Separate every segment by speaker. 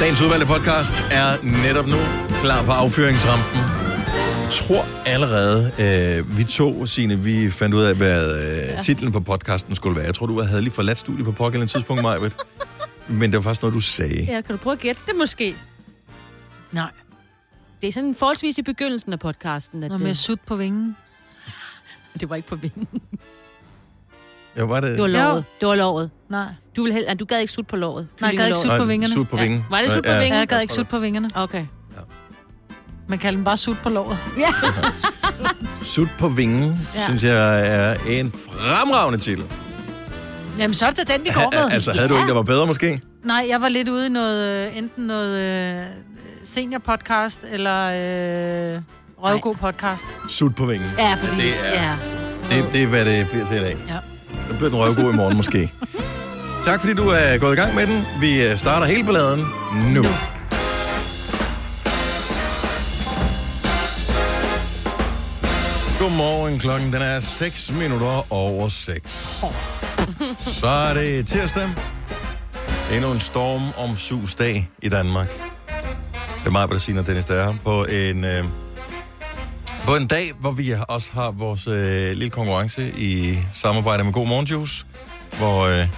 Speaker 1: Dagens udvalgte podcast er netop nu klar på affyringsrampen. tror allerede, øh, vi to, Signe, vi fandt ud af, hvad øh, titlen på podcasten skulle være. Jeg tror, du havde lige forladt studiet på pågældende tidspunkt, Majbet. Men det var faktisk noget, du sagde.
Speaker 2: Ja, kan du prøve at gætte det måske? Nej. Det er sådan forholdsvis i begyndelsen af podcasten. At øh,
Speaker 3: Nå, med sut på vingen.
Speaker 2: det var ikke på vinden.
Speaker 1: Ja, var det...
Speaker 2: Det var lovet. Det var lovet.
Speaker 3: Nej.
Speaker 2: Du, ville hel... du gad ikke sutte på lovet.
Speaker 3: Nej, jeg gad
Speaker 2: Kyllingelovet.
Speaker 3: ikke sutte
Speaker 1: Nej,
Speaker 3: på vingerne.
Speaker 1: Sut på
Speaker 2: Ja.
Speaker 1: vingen.
Speaker 2: Var det sut på
Speaker 1: Ja.
Speaker 3: Ja,
Speaker 2: vingen?
Speaker 3: jeg gad ikke sut på vingerne.
Speaker 2: Okay.
Speaker 3: Man kalder dem bare sut på låret.
Speaker 1: Sut på vingen, ja.
Speaker 3: Ja.
Speaker 1: synes jeg er en fremragende titel.
Speaker 3: Jamen, så er det da den, vi går med.
Speaker 1: Altså, havde du en, der var bedre måske?
Speaker 3: Nej, jeg var lidt ude i noget, øh, enten noget øh, seniorpodcast eller øh, røvgod podcast.
Speaker 1: Sut på vingen.
Speaker 2: Ja, fordi...
Speaker 1: det, er,
Speaker 2: Ja.
Speaker 1: det, det er, hvad det bliver til i dag.
Speaker 3: Ja.
Speaker 1: Så bliver den røvgod i morgen måske. Tak fordi du er gået i gang med den. Vi øh, starter hele balladen nu. nu. Godmorgen, klokken den er 6 minutter over 6. Så er det tirsdag. Endnu en storm om sus dag i Danmark. Det er mig, Bettina og Dennis, der er her på en, øh, på en dag, hvor vi også har vores øh, lille konkurrence i samarbejde med God Morgen Juice, hvor øh,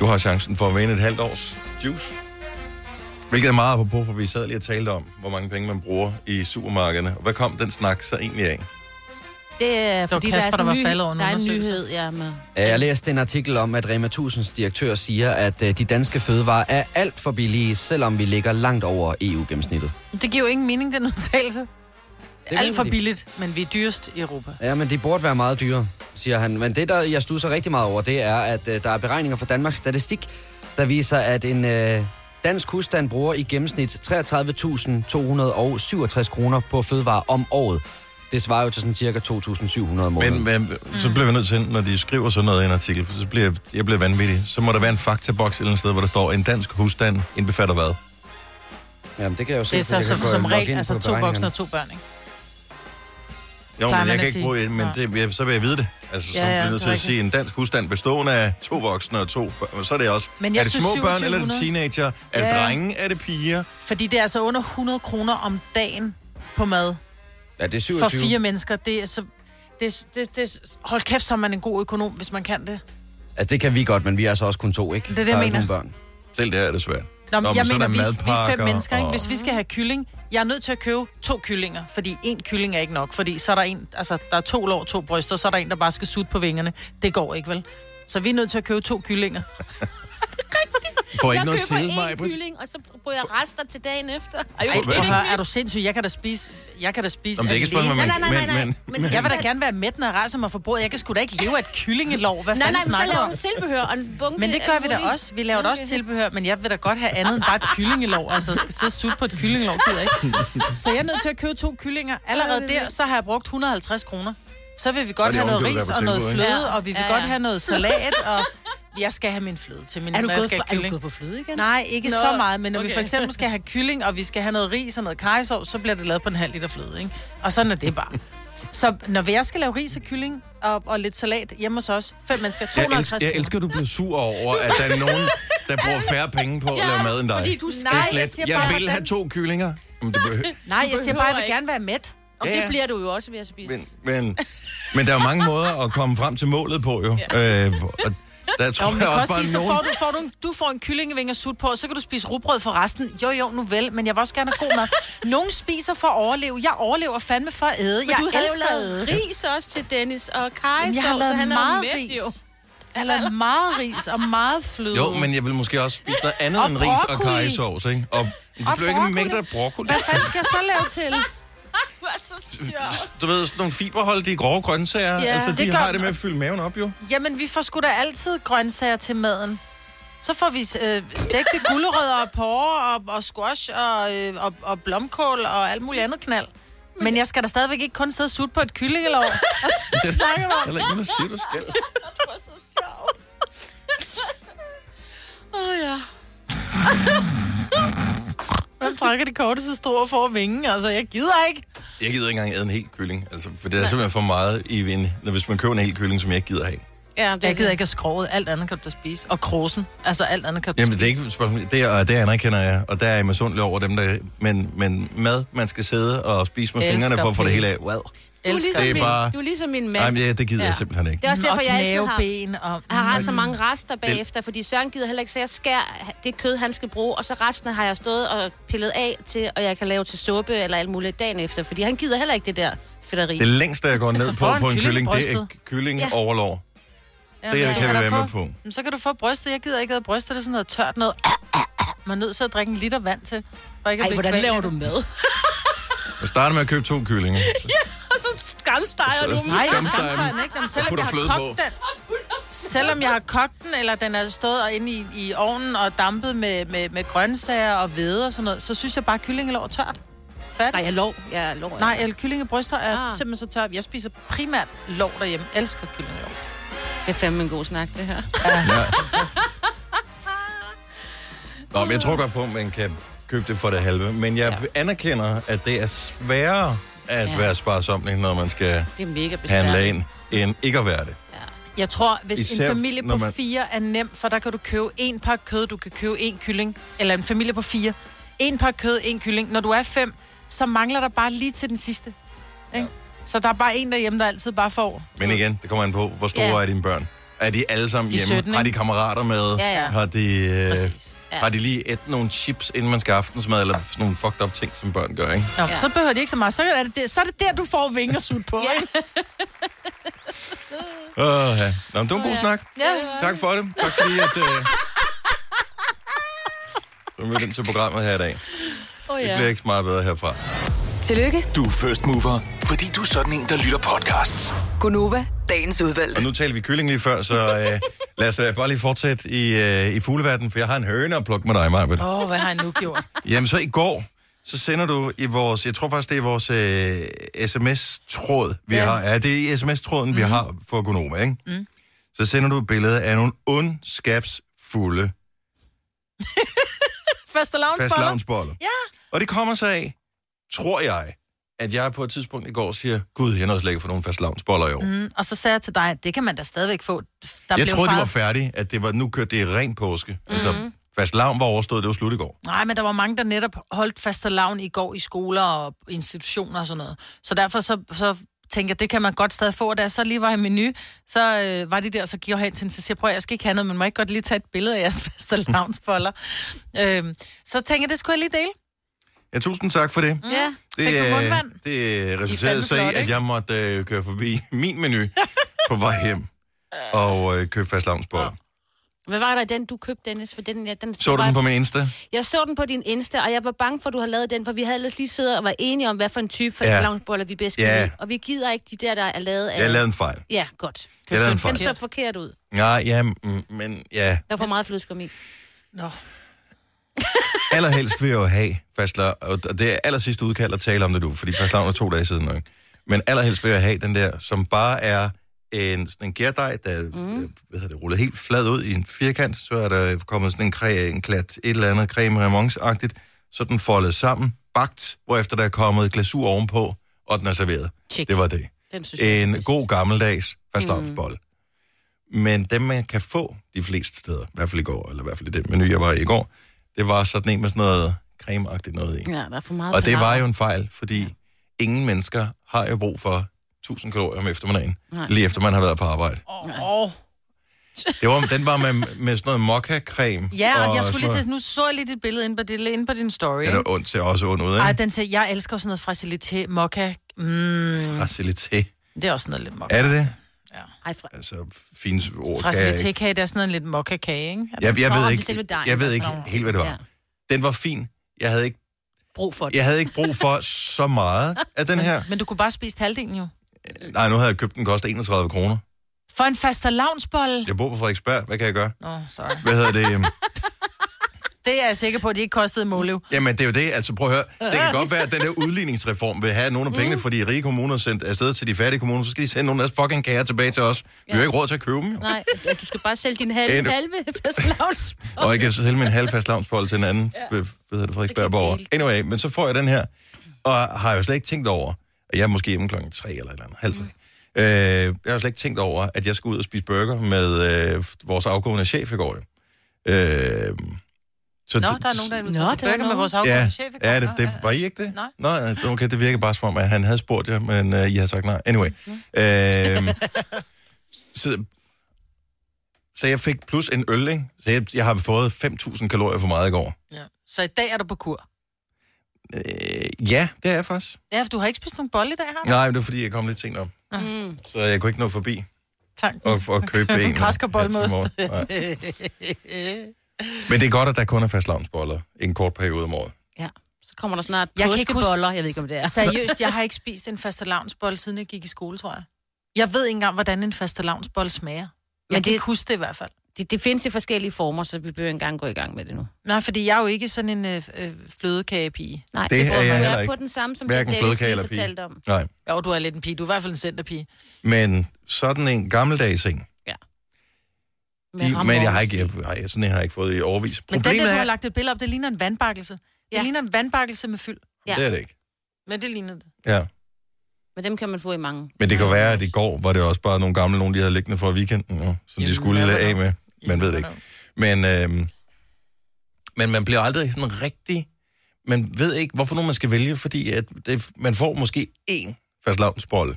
Speaker 1: du har chancen for at vinde et halvt års juice. Hvilket er meget på for vi sad lige og talte om, hvor mange penge man bruger i supermarkederne. Og hvad kom den snak så egentlig af?
Speaker 2: Det er
Speaker 3: var
Speaker 2: fordi, der er,
Speaker 3: Kasper,
Speaker 2: sådan
Speaker 3: der var
Speaker 2: en nyhed-
Speaker 3: faldet over en
Speaker 2: der er en
Speaker 3: undersøgelse.
Speaker 2: nyhed, ja, med...
Speaker 4: Ja, Jeg læste en artikel om, at Rema 1000's direktør siger, at øh, de danske fødevarer er alt for billige, selvom vi ligger langt over EU-gennemsnittet.
Speaker 3: Det giver jo ingen mening, den udtalelse.
Speaker 4: ved
Speaker 3: Alt for
Speaker 4: de.
Speaker 3: billigt, men vi er dyrest i Europa.
Speaker 4: Ja, men det burde være meget dyrere, siger han. Men det, der jeg stusser rigtig meget over, det er, at øh, der er beregninger fra Danmarks Statistik, der viser, at en øh, dansk husstand bruger i gennemsnit 33.267 kroner på fødevarer om året. Det svarer jo til sådan cirka 2.700 om
Speaker 1: Men,
Speaker 4: året.
Speaker 1: men så bliver vi nødt til, når de skriver sådan noget i en artikel, for så bliver jeg bliver vanvittig. Så må der være en faktaboks et eller andet sted, hvor der står, en dansk husstand indbefatter hvad?
Speaker 4: Jamen, det kan jeg jo se.
Speaker 3: Det er så,
Speaker 4: jeg
Speaker 3: så,
Speaker 4: kan gå-
Speaker 3: som
Speaker 4: logge
Speaker 3: regel,
Speaker 4: ind
Speaker 3: altså
Speaker 4: på
Speaker 3: to voksne
Speaker 4: beregningerne.
Speaker 3: og to børn, ikke?
Speaker 1: Jo,
Speaker 3: Plejer
Speaker 1: men
Speaker 3: man
Speaker 1: jeg
Speaker 3: at
Speaker 1: kan ikke
Speaker 3: sige.
Speaker 1: bruge det, men det, jeg, så vil jeg vide det. Altså, så
Speaker 3: Ja, ja,
Speaker 1: ja, ja,
Speaker 3: det er
Speaker 1: bliver nødt til at
Speaker 3: rigtigt.
Speaker 1: sige, en dansk husstand bestående af to voksne og to børn. Så er det også,
Speaker 3: Men
Speaker 1: men
Speaker 3: jeg
Speaker 1: er det
Speaker 3: synes,
Speaker 1: små børn, eller er det
Speaker 3: 2700?
Speaker 1: teenager? Er det
Speaker 3: Ja.
Speaker 1: drenge? Er det piger?
Speaker 3: Fordi det er altså under 100 kroner om dagen på mad
Speaker 4: Ja, det er 27.
Speaker 3: for fire mennesker. Det er så... Det, det, det, hold kæft, så er man en god økonom, hvis man kan det.
Speaker 4: Altså, det kan vi godt, men vi er altså også kun to, ikke?
Speaker 3: Det er det,
Speaker 4: Der
Speaker 3: jeg
Speaker 4: ikke
Speaker 3: mener.
Speaker 4: nogen børn.
Speaker 1: Selv der er det svært. Nå,
Speaker 3: Nå, men
Speaker 1: men
Speaker 3: jeg
Speaker 1: så er
Speaker 3: mener,
Speaker 1: der
Speaker 3: vi, vi er fem
Speaker 1: madpakker
Speaker 3: mennesker, ikke?
Speaker 1: og-
Speaker 3: Hvis vi skal have kylling, jeg er nødt til at købe to kyllinger, fordi en kylling er ikke nok, fordi så er der en, altså der er to lår, to bryster, så er der en, der bare skal sutte på vingerne. Det går ikke, vel? Så vi er nødt til at købe to kyllinger.
Speaker 1: Får ikke
Speaker 2: Jeg
Speaker 1: noget
Speaker 2: køber
Speaker 1: til,
Speaker 2: en
Speaker 1: mig.
Speaker 2: kylling, og så bruger jeg rester til dagen efter. Ej,
Speaker 3: Ej,
Speaker 2: jo,
Speaker 3: prøv at høre, er du sindssyg? Jeg kan da spise, jeg kan da spise
Speaker 1: Nå, men det er ikke et spørgsmål,
Speaker 2: Nej,
Speaker 1: man...
Speaker 2: nej, nej, nej, nej.
Speaker 1: Men, men,
Speaker 2: Men-
Speaker 3: Jeg vil da gerne være mæt, når jeg rejser mig fra bordet. Jeg kan sgu da ikke leve af et kyllingelov. Hvad
Speaker 2: Nej, nej,
Speaker 3: fanden
Speaker 2: men så
Speaker 3: snakker du
Speaker 2: laver
Speaker 3: om?
Speaker 2: du tilbehør og en bunke
Speaker 3: Men det gør
Speaker 2: af
Speaker 3: vi da
Speaker 2: mulige-
Speaker 3: også. Vi laver da også
Speaker 2: Øh, Okay.
Speaker 3: tilbehør, men jeg vil da godt have andet end bare et kyllingelov. Altså, jeg skal sidde og sutte på et kyllingelov, gider jeg ikke. Så jeg er nødt til at købe to kyllinger. Allerede der, så har jeg brugt 150 kroner. Så vil vi
Speaker 1: Og
Speaker 3: godt
Speaker 1: det
Speaker 3: have
Speaker 1: er
Speaker 3: noget
Speaker 1: ovenikøbet,
Speaker 3: ris
Speaker 1: der er
Speaker 3: og
Speaker 1: på
Speaker 3: noget
Speaker 1: tilbud, ikke?
Speaker 3: fløde, og vi vil
Speaker 2: Ja,
Speaker 3: godt
Speaker 2: ja.
Speaker 3: have noget salat, og jeg skal have min fløde til min,
Speaker 2: Er du,
Speaker 3: når jeg
Speaker 2: gået
Speaker 3: skal
Speaker 2: for,
Speaker 3: have
Speaker 2: er du
Speaker 3: kylling.
Speaker 2: gået for fløde igen?
Speaker 3: Nej, ikke
Speaker 2: Nå,
Speaker 3: Nå, så meget, men når okay. vi
Speaker 2: okay.
Speaker 3: for eksempel skal have kylling, og vi skal have noget ris og noget kajsov, så bliver det lavet på en halv liter fløde, ikke? Og sådan er det bare. Så når jeg skal lave ris og kylling og, og lidt salat hjemme hos os, fem mennesker,
Speaker 1: jeg, elsker,
Speaker 3: 250
Speaker 1: jeg elsker, at du bliver sur over, at der er nogen, der bruger færre penge på at lave mad end dig.
Speaker 2: Fordi du
Speaker 1: Det
Speaker 2: skal.
Speaker 1: er
Speaker 3: Nej, jeg
Speaker 1: slet,
Speaker 3: siger
Speaker 1: jeg,
Speaker 3: bare,
Speaker 1: vil
Speaker 3: hvordan-
Speaker 1: have to kyllinger. Men, det behøver,
Speaker 3: Nej, jeg siger bare, at jeg vil
Speaker 2: ikke.
Speaker 3: gerne være mæt.
Speaker 2: Og
Speaker 1: Ja,
Speaker 2: det
Speaker 1: ja.
Speaker 2: bliver du jo også ved at spise.
Speaker 1: men, men, men der er jo mange måder at komme frem til målet på, jo. Øh, og der tror
Speaker 3: Jo,
Speaker 1: jo,
Speaker 3: men
Speaker 1: jeg også
Speaker 3: kan også
Speaker 1: bare
Speaker 3: sige, så
Speaker 1: nogen...
Speaker 3: får du, får du, en, du får en kyllingevinger sut på, og så kan du spise rugbrød for resten. Jo, jo, nu vel, men jeg vil også gerne have god mad. Nogen spiser for at overleve. Jeg overlever fandme for at æde. Jeg
Speaker 2: du har jo
Speaker 3: elsker at æde.
Speaker 2: lavet ris også til Dennis og Kai,
Speaker 3: Jamen,
Speaker 2: så
Speaker 3: Jeg har lavet
Speaker 2: han
Speaker 3: meget
Speaker 2: er jo mæt, jo.
Speaker 3: ris. Jeg har lavet meget ris og meget fløde.
Speaker 1: Jo, men jeg vil måske også spise noget andet
Speaker 3: Og
Speaker 1: end ris og
Speaker 3: broccoli.
Speaker 1: karrysovs, ikke? Og det
Speaker 3: Og
Speaker 1: bliver ikke
Speaker 3: broccoli.
Speaker 1: mængder af broccoli.
Speaker 3: Hvad fanden skal jeg så lave til?
Speaker 2: Du er så sjov.
Speaker 1: Du ved, sådan nogle fiberholdige grove grøntsager, ja,
Speaker 2: Ja,
Speaker 1: altså de
Speaker 3: det gør
Speaker 1: har
Speaker 3: den.
Speaker 1: det med at fylde maven op, jo.
Speaker 3: Jamen, vi får sgu da altid grøntsager til maden. Så får vi øh, stegte gulerødder og porre og, og squash og, øh, og, og blomkål og alt muligt andet knald. Men jeg skal da stadigvæk ikke kun sidde og sutte på et kyllingelov. Snakker du om?
Speaker 1: Eller ikke noget siger, du skal.
Speaker 2: Du er så sjov. Åh, oh, ja.
Speaker 3: Hvem trækker de korteste store for vingen? Altså, jeg gider ikke.
Speaker 1: Jeg gider ikke engang æde en hel kylling, altså, for det er simpelthen for meget, i en, når, hvis man køber en hel kylling, som jeg ikke gider have.
Speaker 5: Ja, det er
Speaker 3: Jeg gider ikke at skroget. Alt andet kan du da spise. Og krosen. Altså alt andet kan du
Speaker 1: Jamen,
Speaker 3: spise.
Speaker 1: det er ikke et spørgsmål. Det, er, det anerkender jeg, og der er jeg misundelig over dem, der... Men, men mad, man skal sidde og spise med
Speaker 3: Elsker
Speaker 1: fingrene for at få det
Speaker 3: pille.
Speaker 1: hele af. Wow.
Speaker 5: Du er,
Speaker 1: Det
Speaker 5: ligesom
Speaker 1: er
Speaker 5: min,
Speaker 1: bare-
Speaker 5: du er ligesom min mand.
Speaker 1: Nej, men ja, det gider ja. jeg
Speaker 3: Ja.
Speaker 1: simpelthen ikke.
Speaker 5: Det er også derfor,
Speaker 3: Og
Speaker 5: jeg altid har,
Speaker 3: knæveben og...
Speaker 5: jeg har så mange rester bagefter, fordi Søren gider heller ikke, så jeg skærer det kød, han skal bruge, og så resten har jeg stået og pillet af til, og jeg kan lave til suppe eller alt muligt dagen efter, fordi han gider heller ikke det der fedteri.
Speaker 1: Det længste, jeg går ned
Speaker 3: Altså,
Speaker 1: på
Speaker 3: får en
Speaker 1: på en
Speaker 3: kylling i
Speaker 1: kylling, det er
Speaker 3: brystet.
Speaker 1: kylling
Speaker 5: Ja.
Speaker 1: overlov.
Speaker 3: Jamen,
Speaker 1: det
Speaker 3: ja,
Speaker 1: kan vi
Speaker 3: du
Speaker 1: være med
Speaker 3: få-
Speaker 1: på.
Speaker 3: Jamen, Så kan du få brystet. Jeg gider ikke have brystet. Det er sådan noget tørt noget. Man er nødt til at drikke en liter vand til. For ikke at
Speaker 2: Ej,
Speaker 3: blive
Speaker 2: hvordan
Speaker 3: kvalt.
Speaker 2: laver du mad?
Speaker 1: Jeg starter med at købe to kyllinger.
Speaker 2: og så skamstejer du dem.
Speaker 3: Nej, jeg
Speaker 1: Skamsteger
Speaker 3: skamsteger
Speaker 1: dem.
Speaker 3: den ikke. Jamen,
Speaker 1: Og
Speaker 3: selvom
Speaker 1: putter
Speaker 3: jeg har
Speaker 1: fløde
Speaker 3: kogt
Speaker 1: på.
Speaker 3: den. Selvom jeg har kogt den, eller den er stået og inde i, i ovnen og dampet med, med, med grøntsager og hvede og sådan noget, så synes jeg bare, at kyllingelår er tørt. Fat.
Speaker 5: Nej,
Speaker 3: Nej,
Speaker 5: jeg lov. Jeg lov.
Speaker 3: Nej eller kyllingebryster er
Speaker 5: Ah.
Speaker 3: ah. simpelthen så tørt. Jeg spiser primært lår derhjemme. Elsker kyllingelår.
Speaker 5: Det er fandme en god snak, det her.
Speaker 1: Ja. Nå, men jeg tror godt på, at man kan købe det for det halve. Men jeg ja. anerkender, at det er sværere at
Speaker 5: Ja.
Speaker 1: ja. være sparsom, når man skal
Speaker 5: Det er mega
Speaker 1: handle
Speaker 5: besværligt.
Speaker 1: ind, end ikke at være det.
Speaker 3: Jeg tror, hvis
Speaker 1: Især
Speaker 3: Især, en familie
Speaker 1: når
Speaker 3: på
Speaker 1: man-
Speaker 3: man... fire er nem, for der kan du købe en pakke kød, du kan købe en kylling, eller en familie på fire, en pakke kød, en kylling. Når du er fem, så mangler der bare lige til den sidste. Ikke? Så der er bare en derhjemme, der altid bare får.
Speaker 1: Men igen, det kommer an på, hvor store
Speaker 5: Ja.
Speaker 1: ja. er dine børn? Er de alle sammen
Speaker 3: De er
Speaker 1: hjemme?
Speaker 3: 17,
Speaker 1: har de
Speaker 3: ikke?
Speaker 1: kammerater med?
Speaker 5: Ja, ja.
Speaker 1: Har de... Øh,
Speaker 3: Præcis.
Speaker 5: Ja.
Speaker 1: Ja. Har de lige et nogle chips, inden man skal have aftensmad, eller sådan nogle fucked up ting, som børn gør, ikke?
Speaker 3: Nå,
Speaker 5: Ja.
Speaker 3: ja. så behøver de ikke så meget. Så er det der, så er det der du får vingersud på. ja.
Speaker 1: Åh, ja. Nå, men det var en god snak.
Speaker 3: ja.
Speaker 1: Tak for det. Tak fordi, at... Øh... Så er vi ind til programmet her i dag.
Speaker 2: Åh,
Speaker 1: Det
Speaker 2: ja.
Speaker 1: bliver ikke så meget bedre herfra.
Speaker 6: Tillykke,
Speaker 7: Du er first mover, fordi du er sådan en, der lytter podcasts.
Speaker 6: Gunova, dagens udvalgte.
Speaker 1: Og nu talte vi kylling lige før, så øh, lad os øh, bare lige fortsætte i, øh, i fugleverdenen, for jeg har en høne at plukke med dig, Maja.
Speaker 3: Åh, oh, hvad har jeg nu gjort?
Speaker 1: Jamen så i går, så sender du i vores, jeg tror faktisk det er vores øh, sms-tråd, vi ja. har. Ja, det er sms-tråden,
Speaker 3: Mhm.
Speaker 1: mm. vi har for Gonoma, ikke? Mm. Så sender du et billede af nogle ondskabsfulde
Speaker 3: Faste lavnsboller.
Speaker 1: fastlavnsboller.
Speaker 3: Ja.
Speaker 1: Og det kommer så af, tror jeg, at jeg på et tidspunkt i går siger, gud, jeg er nødt til at få nogle fastlavnsboller i år. Mm.
Speaker 3: Mm, og så sagde jeg til dig, at det kan man da stadigvæk få. Der
Speaker 1: Jeg
Speaker 3: blev
Speaker 1: troede, de
Speaker 3: fejret- Mhm.
Speaker 1: var færdige, at det var, nu kørte det i ren påske. Mm. Altså, fastlavn var overstået, det var slut i går.
Speaker 3: Nej, men der var mange, der netop holdt faste lavn i går i skoler og institutioner og sådan noget. Så derfor så, så tænker jeg, det kan man godt stadig få. Og Da jeg så lige var i menu, så øh, var de der, så gik jeg hen til hende, så siger jeg, prøv at høre, jeg skal ikke have noget, men må jeg ikke godt lige tage et billede af jeres faste lavnsboller. øhm, så tænker jeg, det skulle jeg lige dele.
Speaker 1: Ja, tusind tak for det.
Speaker 5: Ja.
Speaker 1: Det,
Speaker 3: Fik du
Speaker 1: øh,
Speaker 3: mundvand?
Speaker 1: det øh,
Speaker 3: fandme
Speaker 1: resulterede så i,
Speaker 3: flotte,
Speaker 1: at
Speaker 3: ikke?
Speaker 1: jeg måtte øh, køre forbi min menu på vej hjem og øh, købe fastlavnsboller.
Speaker 5: Hvad var der i den, du købte, Dennis? For den, ja, den
Speaker 1: Så du den på min Insta?
Speaker 5: Jeg så den på din Insta, og jeg var bange for, at du har lavet den, for vi havde ellers lige siddet og var enige om, hvad for en type for
Speaker 1: Ja.
Speaker 5: ja. vi bedst kan
Speaker 1: Ja.
Speaker 5: lide. Og vi gider ikke de der, der er lavet af...
Speaker 1: Jeg lavede en fejl.
Speaker 5: Ja, godt.
Speaker 1: Jeg lavede en
Speaker 5: Den
Speaker 1: fejl.
Speaker 5: så forkert ud.
Speaker 1: Nej, ja, mm, men ja.
Speaker 5: Der var for meget flødeskum i.
Speaker 3: Nå.
Speaker 1: Allerhelst vil jeg jo have fastlavn, og det er aller sidste udkald at tale om det nu, fordi fastlavn er to dage siden. Ikke? Men allerhelst vil jeg have den der, som bare er en, sådan en gærdej, der mm. hvad hedder det, rullet helt flad ud i en firkant, så er der kommet sådan en, kræ, en klat, et eller andet creme remonce-agtigt, så er den foldet sammen, bagt, hvorefter der er kommet glasur ovenpå, og den er serveret.
Speaker 5: Check.
Speaker 1: Det var det.
Speaker 5: Den synes jeg var
Speaker 1: En
Speaker 5: bedst.
Speaker 1: god gammeldags fastlavnsbolle. Mm. Men dem, man kan få de fleste steder, i hvert fald i går, eller i hvert fald i den menu, jeg var i i går, det var sådan en med sådan noget cremeagtigt noget i.
Speaker 5: Ja, der er for meget
Speaker 1: Og det var
Speaker 5: palaver.
Speaker 1: jo en fejl, fordi ingen mennesker har jo brug for 1000 kalorier om eftermiddagen,
Speaker 5: Nej.
Speaker 1: lige efter man har været på arbejde.
Speaker 3: Åh. Oh.
Speaker 1: Det var, den var med, med sådan noget mokka-creme.
Speaker 3: Ja, og jeg skulle lige
Speaker 1: sådan
Speaker 3: til, nu så jeg lige dit billede inde på, det, inde på din story.
Speaker 1: noget- Ja,
Speaker 3: ikke?
Speaker 1: det ondt, ser også ondt ud,
Speaker 3: Ej,
Speaker 1: ikke?
Speaker 3: den siger, jeg elsker jo sådan noget fragilité, mokka. Mm,
Speaker 1: Fragilité.
Speaker 3: det er også noget lidt mokka.
Speaker 1: Er det det?
Speaker 5: Ej, fra...
Speaker 1: Altså, fint ord. kan jeg ikke-
Speaker 3: Fragilité-kage, det er sådan noget lidt mokka-kage, ikke? Er
Speaker 1: Jeg, jeg,
Speaker 5: Nå,
Speaker 1: ved
Speaker 5: det
Speaker 1: ikke,
Speaker 5: er selve dejen,
Speaker 1: jeg ved
Speaker 5: der
Speaker 1: ikke
Speaker 5: kommer.
Speaker 1: helt, hvad det var.
Speaker 5: Ja.
Speaker 1: Den var fin. Jeg havde ikke
Speaker 5: Brug for det.
Speaker 1: Jeg havde ikke brug for så meget af den her.
Speaker 3: Men du kunne bare spise halvdelen jo.
Speaker 1: Nej, nu havde jeg købt den, koster 31 kroner.
Speaker 3: For en fastelavnsbolle?
Speaker 1: Jeg bor på Frederiksberg, hvad kan jeg gøre?
Speaker 3: Nå, sorry.
Speaker 1: Hvad hedder det? øhm?
Speaker 3: Det er jeg sikker på, at det ikke kostede målev.
Speaker 1: Jamen, det er jo det, altså prøv at høre. Det kan godt være, at den der udligningsreform vil have nogle af
Speaker 5: Mm.
Speaker 1: pengene, fordi rige kommuner sendt afsted til de fattige kommuner, så skal de sende nogle af deres fucking kager tilbage til os. Vi har jo ikke råd til at købe dem, jo.
Speaker 5: Nej, at du skal bare sælge din halve,
Speaker 1: En-
Speaker 5: halve fastlavns.
Speaker 1: Og jeg kan så sælge min halvfast lavnsbold til en anden, ja. hvad hedder det, Frederiksberg
Speaker 5: Det kan
Speaker 1: borger.
Speaker 5: dele.
Speaker 1: Anyway, men så får jeg den her, og har jo slet ikke tænkt over, at jeg er måske hjemme klokken 3 eller et eller andet, halv tre. Øh, jeg har jo slet ikke tænkt over, at jeg skulle ud og spise burger med øh, vores afgående chef i går. jo. Øh, så
Speaker 3: Nå,
Speaker 1: det-
Speaker 3: der er nogen, der
Speaker 2: Nå, der
Speaker 3: inviterer på
Speaker 2: er
Speaker 3: burger med
Speaker 2: nogen.
Speaker 3: vores afgående
Speaker 1: Ja,
Speaker 3: chef. i går.
Speaker 1: ja det,
Speaker 3: Nå,
Speaker 1: det, var I ikke det?
Speaker 3: Nej.
Speaker 1: Nej, okay, det virker bare som om, at han havde spurgt jer, men uh, I havde sagt nej. Anyway.
Speaker 3: Mm.
Speaker 1: Øhm, så, så jeg fik plus en øl, ikke? Så jeg, jeg har fået 5.000 kalorier for meget i går.
Speaker 3: Ja. Så i dag er du på kur.
Speaker 1: Øh, ja, det er jeg faktisk.
Speaker 3: Ja, for du har ikke spist nogen bolle i dag, har du?
Speaker 1: Nej, men det er fordi, jeg kom lidt sent op.
Speaker 5: Mm.
Speaker 1: Så jeg kunne ikke nå forbi
Speaker 3: Tanken.
Speaker 1: og, og købe en.
Speaker 3: kradskerbolle med
Speaker 1: halv time
Speaker 3: ost.
Speaker 1: om året. Nej. Men det er godt, at der kun er fast lavnsboller en kort periode om året.
Speaker 5: Ja. Så kommer der snart
Speaker 2: Jeg
Speaker 5: jeg
Speaker 2: kan ikke huske-
Speaker 5: påskeboller. Jeg ved ikke, om det er.
Speaker 3: Seriøst, jeg har ikke spist en fastelavnsbolle, siden jeg gik i skole, tror jeg. Jeg ved ikke engang, hvordan en fastelavnsbolle smager. Jeg
Speaker 5: Men
Speaker 3: Men kan det...
Speaker 5: det-
Speaker 3: ikke huske det i hvert fald.
Speaker 5: Det, det findes i forskellige former, så vi behøver ikke engang gå i gang med det nu.
Speaker 3: Nej, fordi jeg er jo ikke sådan en øh, øh, flødekagepige.
Speaker 5: Nej,
Speaker 1: Det er
Speaker 5: burde
Speaker 1: jeg
Speaker 5: man
Speaker 1: heller
Speaker 5: være
Speaker 1: ikke.
Speaker 5: på den samme, som
Speaker 1: Hverken
Speaker 5: det Dennis
Speaker 1: flødekage
Speaker 5: lige
Speaker 1: eller pige.
Speaker 5: fortalte om.
Speaker 1: Nej.
Speaker 3: Jo, du er lidt en pige. Du er i hvert fald en centerpige.
Speaker 1: Men sådan en gammeldags en,
Speaker 5: Med
Speaker 1: De,
Speaker 5: ham
Speaker 1: men jeg har
Speaker 5: også.
Speaker 1: ikke, jeg, nej, sådan en har jeg ikke fået i overvis.
Speaker 3: Men den
Speaker 1: Problemet
Speaker 3: der, du
Speaker 1: er,
Speaker 3: har lagt et billede op, det ligner en vandbakkelse.
Speaker 5: Ja.
Speaker 3: Ja. Det ligner en vandbakkelse med fyld.
Speaker 5: Ja.
Speaker 1: det er det ikke.
Speaker 3: Men det ligner det.
Speaker 1: Ja.
Speaker 5: Men dem kan man få i mange.
Speaker 1: Men det kan være, at i går var det også bare nogle gamle, nogen de havde liggende fra weekenden, jo, som de
Speaker 3: Jamen,
Speaker 1: skulle
Speaker 3: hvad
Speaker 1: lade
Speaker 3: var
Speaker 1: af
Speaker 3: det?
Speaker 1: med. Man ved det ikke. Men, øhm, men man bliver aldrig sådan rigtig... Man ved ikke, hvorfor nogen man skal vælge, fordi at det, man får måske én fastlavnsbolle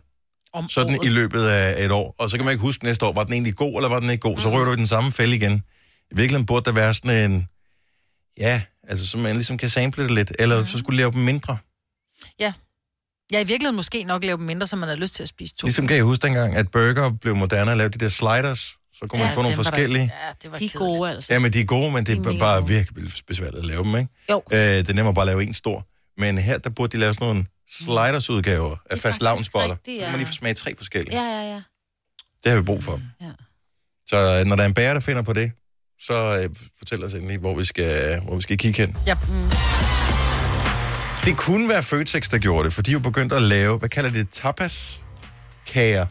Speaker 3: Om
Speaker 1: sådan i løbet af et år, og så kan man ikke huske næste år, var den egentlig god, eller var den ikke god, så rører du i den samme fælde igen. I virkeligheden burde der være sådan en, ja, altså så man ligesom kan sample det lidt, eller så skulle du lave dem mindre.
Speaker 3: Jeg i virkeligheden måske nok lave dem mindre, så man har lyst til at spise to.
Speaker 1: Ligesom kan jeg huske dengang, at burger blev moderne og lavede de der sliders. Så kunne man
Speaker 3: Ja,
Speaker 1: få nogle
Speaker 3: dem var der-
Speaker 1: forskellige.
Speaker 3: Ja, det var
Speaker 5: De er
Speaker 3: kedeligt.
Speaker 5: gode, altså.
Speaker 1: Ja, men de er gode, men det
Speaker 5: De er
Speaker 1: er
Speaker 5: mega
Speaker 1: bare
Speaker 5: gode.
Speaker 1: virkelig besværligt at lave dem, ikke?
Speaker 5: Jo.
Speaker 1: Øh, det er nemmere bare at lave en stor. Men her, der burde de lave sådan nogle sliders-udgaver af
Speaker 5: faktisk
Speaker 1: fast lavnsboller.
Speaker 5: rigtigt,
Speaker 1: Så kan
Speaker 5: ja.
Speaker 1: man lige få smage tre forskellige.
Speaker 5: Ja, ja, ja.
Speaker 1: Det har vi brug for.
Speaker 5: Ja.
Speaker 1: Så øh, når der er en bærer, der finder på det, så øh, fortæl os endelig, hvor vi skal, hvor vi skal kigge
Speaker 5: altså.
Speaker 1: hen.
Speaker 3: Ja. mm.
Speaker 1: Det kunne være Føtex, der gjorde det, for de er jo begyndt at lave, hvad kalder det, tapas kager.
Speaker 5: Nå,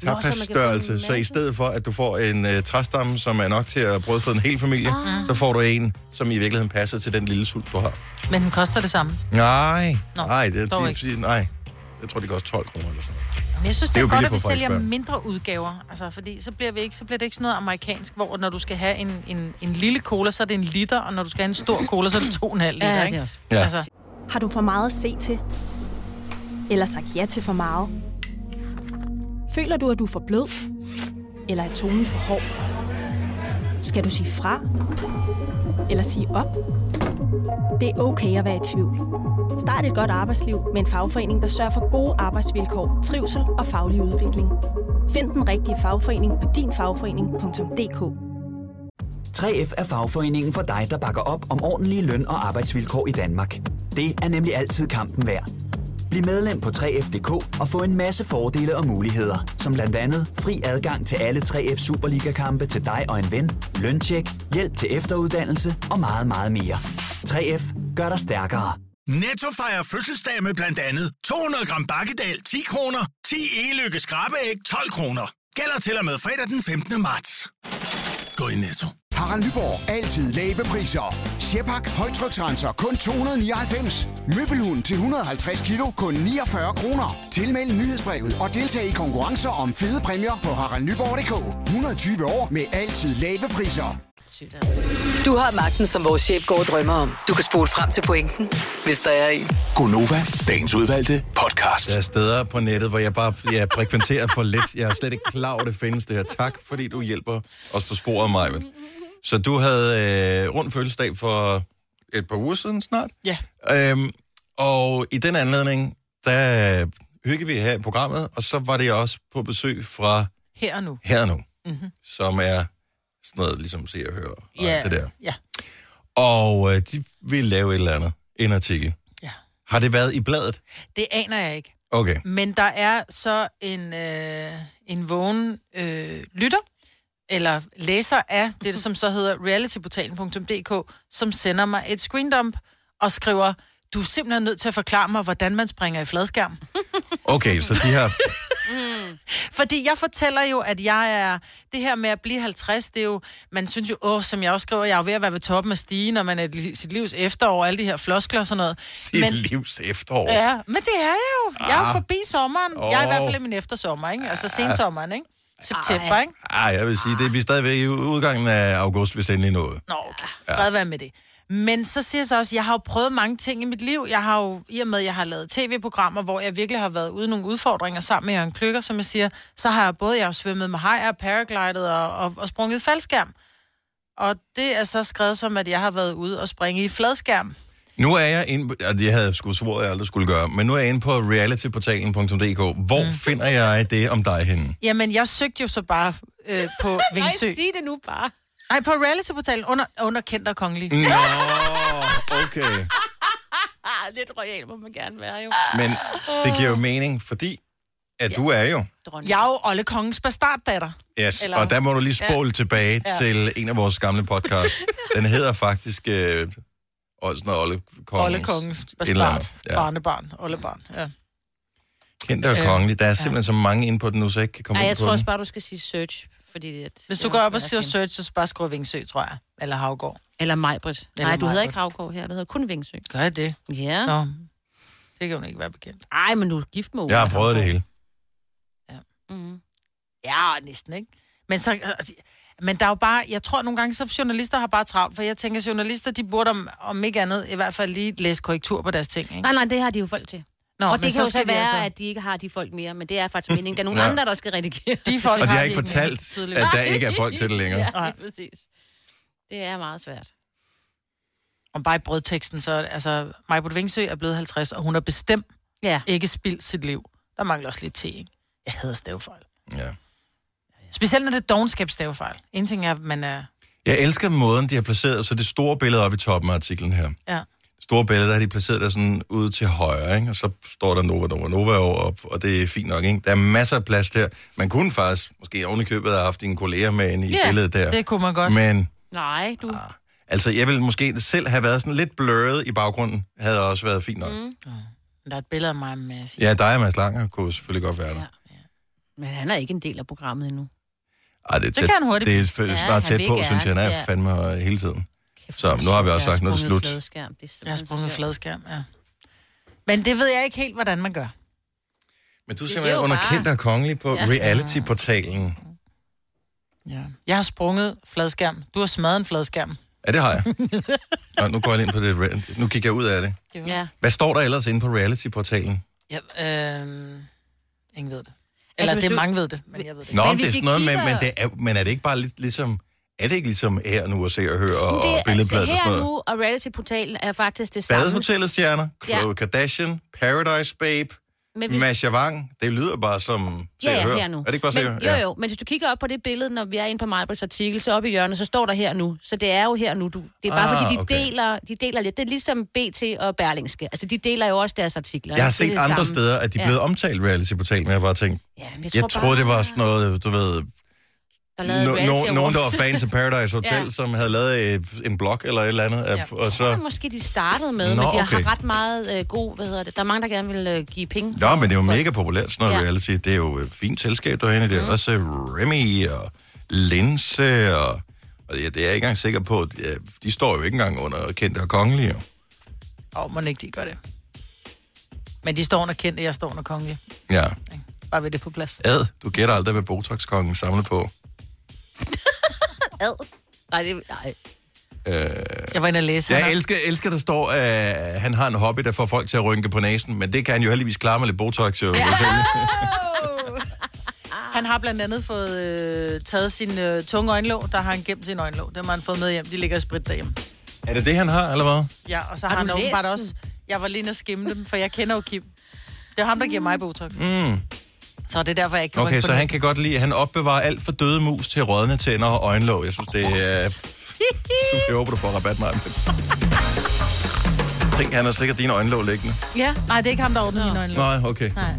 Speaker 5: så man kan få en
Speaker 1: Tapas-størrelse. Så i
Speaker 5: masse.
Speaker 1: stedet for, at du får en øh, træstamme, som er nok til at brødføde en hel familie,
Speaker 5: Ah.
Speaker 1: så får du en, som i virkeligheden passer til den lille sult, du har.
Speaker 3: Men den koster det samme.
Speaker 1: Nej,
Speaker 3: Nå,
Speaker 1: nej, det,
Speaker 3: dog
Speaker 1: er
Speaker 3: ikke.
Speaker 1: fordi, nej. Jeg tror, det koster 12 kroner eller sådan noget.
Speaker 3: Men jeg synes, det
Speaker 1: Det
Speaker 3: er,
Speaker 1: er
Speaker 3: det
Speaker 1: jo
Speaker 3: er godt,
Speaker 1: billigt
Speaker 3: at vi
Speaker 1: på
Speaker 3: sælger
Speaker 1: Frederiksberg.
Speaker 3: mindre udgaver. Altså, fordi så bliver, vi ikke, så bliver det ikke sådan noget amerikansk, hvor når du skal have en, en, en lille cola, så er det en liter, og når du skal have en stor cola, så er det to og en halv liter,
Speaker 5: Ja, det
Speaker 3: ikke?
Speaker 5: er også.
Speaker 1: Ja.
Speaker 3: Altså,
Speaker 8: Har du for meget at se til? Eller sagt ja til for meget? Føler du, at du er for blød? Eller er tonen for hård? Skal du sige fra? Eller sige op? Det er okay at være i tvivl. Start et godt arbejdsliv med en fagforening, der sørger for gode arbejdsvilkår, trivsel og faglig udvikling. Find den rigtige fagforening på dinfagforening.dk
Speaker 9: 3F er fagforeningen for dig, der bakker op om ordentlige løn- og arbejdsvilkår i Danmark. Det er nemlig altid kampen værd. Bliv medlem på 3F.dk og få en masse fordele og muligheder, som blandt andet fri adgang til alle 3F Superliga-kampe til dig og en ven, løntjek, hjælp til efteruddannelse og meget, meget mere. 3F gør dig stærkere.
Speaker 7: Netto fejrer fødselsdag med blandt andet 200 gram bakkedal 10 kroner, 10 e-lykke skrabeæg 12 kroner. Gælder til og med fredag den 15. marts. Gå i Netto.
Speaker 10: Harald Nyborg. Altid lave priser. Sjehpak. Højtryksrenser. Kun 299. Møbelhund til 150 kilo. Kun 49 kroner. Tilmeld nyhedsbrevet og deltag i konkurrencer om fede præmier på haraldnyborg.dk. 120 år med altid lave priser.
Speaker 2: altså.
Speaker 6: Du har magten, som vores chef går og drømmer om. Du kan spole frem til pointen, hvis der er en.
Speaker 7: Gonova, dagens udvalgte podcast.
Speaker 1: Der er steder på nettet, hvor jeg bare jeg frekventerer for lidt. Jeg er slet ikke klar over, det findes det her. Tak, fordi du hjælper os på sporet, mig. Så du havde øh, rundt fødselsdag for et par uger siden snart.
Speaker 3: ja.
Speaker 1: Øhm, og i den anledning, der hyggede vi her i programmet, og så var det også på besøg fra
Speaker 3: her og nu.
Speaker 1: Her Nu, mm-hmm. som er sådan noget, ligesom se og høre og
Speaker 3: Mhm. Ja,
Speaker 1: alt det der.
Speaker 3: ja.
Speaker 1: Og øh, de ville lave et eller andet, en artikel.
Speaker 3: Ja.
Speaker 1: Har det været i bladet?
Speaker 3: Det aner jeg ikke.
Speaker 1: Okay.
Speaker 3: Men der er så en, øh, en vågen øh, lytter, eller læser af det, som så hedder realityportalen.dk, som sender mig et screendump og skriver, du er simpelthen nødt til at forklare mig, hvordan man springer i fladskærm.
Speaker 1: Okay, så de har...
Speaker 3: Mm. Fordi jeg fortæller jo, at jeg er... Det her med at blive 50, det er jo... Man synes jo, åh, som jeg også skriver, jeg er jo ved at være ved toppen af stigen, når man er i li- sit livs efterår, alle de her floskler og sådan noget.
Speaker 1: Sit men... livs efterår.
Speaker 3: Ja, men det er jeg jo. Jeg er
Speaker 1: Ah.
Speaker 3: jo forbi sommeren. Jeg er i hvert fald
Speaker 1: Åh.
Speaker 3: i min eftersommer, ikke? Altså sensommeren, ikke? September, ikke?
Speaker 1: Ah, jeg vil sige, det er vi stadigvæk i udgangen af august, hvis endelig noget.
Speaker 3: Nå, okay. Fred være med det. Men så siger jeg så også, at jeg har jo prøvet mange ting i mit liv. Jeg har jo, i og med, at jeg har lavet tv-programmer, hvor jeg virkelig har været ude nogle udfordringer sammen med Jørgen Kløkker, som jeg siger, så har jeg både jeg har svømmet med hajer, paraglidet og, og, og sprunget i faldskærm. Og det er så skrevet som, at jeg har været ude og springe i fladskærm.
Speaker 1: Nu er jeg inde på, ja, det havde jeg sgu svoret, jeg aldrig skulle gøre, men nu er jeg inde på realityportalen.dk. Hvor mm. finder jeg det om dig henne?
Speaker 3: Jamen, jeg søgte jo så bare øh, på Vingsø.
Speaker 2: Nej, sig det nu bare.
Speaker 3: Nej, på realityportalen under, under kendt og kongelig.
Speaker 1: Nå, okay.
Speaker 2: Ah, lidt royal må man gerne være, jo.
Speaker 1: Men det giver jo mening, fordi at du er jo...
Speaker 3: Jeg er jo Olle Kongens bastarddatter.
Speaker 1: Yes,
Speaker 3: Eller-
Speaker 1: Eller... og der må du lige
Speaker 3: Ja.
Speaker 1: spole ja. tilbage
Speaker 3: Ja.
Speaker 1: ja. til en af vores gamle podcast. Den hedder faktisk... Øh, Olsen og Olle Kongens.
Speaker 3: Olle Kongens
Speaker 1: et eller
Speaker 3: bastard.
Speaker 1: andet.
Speaker 3: Ja. Barnebarn. Ollebarn, ja.
Speaker 1: Kendt og
Speaker 3: Øh,
Speaker 1: kongelig. Der er simpelthen så mange inde på den nu, så jeg ikke kan komme
Speaker 2: Ej,
Speaker 1: ind
Speaker 2: jeg
Speaker 1: på
Speaker 2: tror
Speaker 1: den.
Speaker 2: også bare, du skal sige search. Fordi at,
Speaker 3: Hvis du går op og siger search, så bare skriver Vingsø, tror jeg. Eller Havgård.
Speaker 2: Eller Majbrit.
Speaker 3: Eller
Speaker 2: Nej, du hedder
Speaker 3: Majbrit.
Speaker 2: ikke Havgård her, du hedder kun Vingsø.
Speaker 3: Gør jeg det?
Speaker 2: Ja.
Speaker 3: Nå. Det kan hun ikke være bekendt.
Speaker 2: Ej, men du er gift med Ole.
Speaker 1: Jeg har prøvet det hele.
Speaker 2: Mm.
Speaker 3: Ja, næsten ikke. Men så... altså, Men der er jo bare, jeg tror nogle gange, så journalister har bare travlt, for jeg tænker, journalister, de burde om, om ikke andet, i hvert fald lige læse korrektur på deres ting, ikke?
Speaker 2: Nej, nej, det har de jo folk til.
Speaker 3: Nå,
Speaker 2: og
Speaker 3: men
Speaker 2: det
Speaker 3: så
Speaker 2: kan jo
Speaker 3: skal
Speaker 2: så
Speaker 3: de
Speaker 2: være,
Speaker 3: altså-
Speaker 2: altså... at de ikke har de folk mere, men det er faktisk meningen. Der er nogle
Speaker 1: Ja.
Speaker 2: andre, der skal redigere.
Speaker 3: De folk
Speaker 1: Og de har
Speaker 3: vi
Speaker 1: ikke fortalt,
Speaker 3: tydeligvis.
Speaker 1: at der ikke er folk til det længere.
Speaker 2: Ja,
Speaker 3: Nej.
Speaker 2: lige præcis. Det er meget svært.
Speaker 3: Om bare i brødteksten, så er det- altså, Majbrit Vingsø er blevet 50, og hun har bestemt
Speaker 2: Ja.
Speaker 3: ikke spildt sit liv. Der mangler også lidt te, ikke? Jeg hader stavefejl.
Speaker 1: Ja.
Speaker 3: Specielt når det er dogenskab stavefejl. En ting er, at man er...
Speaker 1: Jeg elsker måden, de har placeret, så det store billede oppe i toppen af artiklen her.
Speaker 3: Ja.
Speaker 1: Det store billede, der har de placeret der sådan ude til højre, ikke? og så står der Nova, Nova, Nova over, og det er fint nok. Ikke? Der er masser af plads der. Man kunne faktisk, måske oven i købet, have haft dine kolleger med inde i
Speaker 3: Ja,
Speaker 1: billedet der.
Speaker 3: det kunne man godt.
Speaker 1: Men
Speaker 2: Nej, du...
Speaker 1: altså, jeg ville måske selv have været sådan lidt blurret i baggrunden, havde også været fint nok. Mm.
Speaker 3: Der er et billede af mig med Mads.
Speaker 1: Ja, dig og Mads Langer kunne selvfølgelig godt være der. Ja.
Speaker 2: Men han er ikke en del af programmet endnu.
Speaker 1: Ej, det, er tæt,
Speaker 3: kan han hurtigt
Speaker 1: Det
Speaker 3: blive.
Speaker 1: er f-
Speaker 2: Ja,
Speaker 1: snart
Speaker 2: han
Speaker 1: tæt
Speaker 2: vil
Speaker 1: på,
Speaker 2: gerne,
Speaker 1: synes jeg, han er
Speaker 2: ja.
Speaker 1: fandme øh, hele tiden. Så nu har vi også sagt, nu er det slut.
Speaker 2: Fladskærm. Det er
Speaker 3: Jeg har
Speaker 2: simpelthen
Speaker 3: sprunget
Speaker 2: så sjovt.
Speaker 3: fladskærm, ja. Men det ved jeg ikke helt, hvordan man gør.
Speaker 1: Men du er
Speaker 2: Det er
Speaker 1: simpelthen
Speaker 2: jo
Speaker 1: underkendt
Speaker 2: bare-
Speaker 1: og kongelig på
Speaker 2: Ja.
Speaker 1: reality-portalen.
Speaker 3: Ja. Jeg har sprunget fladskærm. Du har smadret en fladskærm.
Speaker 1: Ja, det har jeg. Nå, nu går jeg ind på det. re- Nu kigger jeg ud af det.
Speaker 2: Ja.
Speaker 1: Hvad står der ellers inde på reality-portalen?
Speaker 3: Ja, øh, ingen ved
Speaker 2: hvis
Speaker 3: det. Eller altså, det
Speaker 2: du-
Speaker 3: er mange ved det, men jeg ved det
Speaker 1: Nå,
Speaker 2: Men
Speaker 1: men det
Speaker 2: hvis
Speaker 1: er
Speaker 2: vi
Speaker 1: sådan noget, men,
Speaker 2: kigger-
Speaker 1: men, det er, men er det ikke bare lidt ligesom... Er det ikke ligesom her nu at se og høre og,
Speaker 2: Det
Speaker 1: og
Speaker 2: er altså
Speaker 1: billedbladet og
Speaker 2: her
Speaker 1: sådan
Speaker 2: og
Speaker 1: noget?
Speaker 2: nu, og reality-portalen er faktisk det samme.
Speaker 1: Badehotellets stjerner,
Speaker 2: Ja.
Speaker 1: Khloe ja. Kardashian, Paradise Babe,
Speaker 2: Men hvis-
Speaker 1: Masha Wang. Det lyder bare som se
Speaker 2: Ja,
Speaker 1: og
Speaker 2: ja,
Speaker 1: høre.
Speaker 2: her nu.
Speaker 1: Er det ikke bare se
Speaker 2: men,
Speaker 1: og høre?
Speaker 2: Jo, jo, men hvis du kigger op på det billede, når vi er inde på Majbrits artikel, så oppe i hjørnet, så står der her nu. Så det er jo her nu, du. Det er bare
Speaker 1: Ah,
Speaker 2: fordi, de,
Speaker 1: okay.
Speaker 2: deler, de deler lidt. Det er ligesom BT og Berlingske. Altså, de deler jo også deres artikler.
Speaker 1: Jeg har
Speaker 2: ikke? Det
Speaker 1: set
Speaker 2: er det
Speaker 1: andre
Speaker 2: samme.
Speaker 1: steder, at de er blevet omtalt reality-portalen, men jeg har bare tænkt,
Speaker 2: Ja, men jeg,
Speaker 1: jeg
Speaker 2: tror bare,
Speaker 1: troede, det var sådan noget, du ved,
Speaker 2: Der lavede
Speaker 1: no, no,
Speaker 2: reality
Speaker 1: nogen, der var
Speaker 2: awards.
Speaker 1: fans af Paradise Hotel, ja.
Speaker 2: Ja.
Speaker 1: som havde lavet øh, en blog eller et eller andet, ja. og
Speaker 2: Jeg tror
Speaker 1: så...
Speaker 2: måske, de startede med,
Speaker 1: Nå,
Speaker 2: Nå, men de okay.
Speaker 1: okay.
Speaker 2: har ret meget øh, god, hvad hedder det, der er mange, der gerne vil øh, give penge.
Speaker 1: Nå,
Speaker 2: for-
Speaker 1: men det er jo
Speaker 2: for-
Speaker 1: mega populært, sådan noget ja.
Speaker 2: Ja.
Speaker 1: reality. Det er jo et fint selskab derhenne. Det er mm. også øh, Remy og Linse og... Og ja, det er jeg ikke engang sikker på. at, øh, De står jo ikke engang under kendte og kongelige. jo.
Speaker 3: Åh, oh, må ikke de gør det. Men de står under kendte, jeg står under kongelig.
Speaker 1: Ja.
Speaker 3: Bare ved det på plads.
Speaker 1: Ad, du gætter aldrig, hvad Botox-kongen samler på.
Speaker 2: Ad. Nej, det, nej.
Speaker 3: Jeg var inde og læse.
Speaker 1: Jeg
Speaker 3: han har-
Speaker 1: elsker, elsker, der står, at øh, han har en hobby, der får folk til at rynke på næsen, men det kan han jo heldigvis klare med lidt Botox. Jo. Ja.
Speaker 3: Han har blandt andet fået øh, taget sin øh, tunge øjenlåg, der har han gemt sin øjenlåg. Dem har han fået med hjem. De ligger i sprit derhjemme.
Speaker 1: Er det det, han har, eller hvad?
Speaker 3: Ja, og så
Speaker 2: Har
Speaker 3: har, har han
Speaker 2: du læst
Speaker 3: åbenbart
Speaker 2: den?
Speaker 3: også... Jeg var lige inde og skimme dem, for jeg kender jo Kim. Det er ham, der giver mig Botox. Mm. Så det er derfor, jeg ikke kan
Speaker 1: Okay,
Speaker 3: rykke på
Speaker 1: så han
Speaker 3: næsen.
Speaker 1: kan godt lide, at han opbevarer alt for døde mus til rådne tænder og øjenlåg. Jeg synes, det er... Jeg håber, du får rabat, mig. Tænk, han har sikkert dine øjenlåg liggende.
Speaker 2: Ja.
Speaker 3: Nej, det er ikke ham, der ordner mine øjenlåg.
Speaker 1: Nej, okay.
Speaker 3: Nej.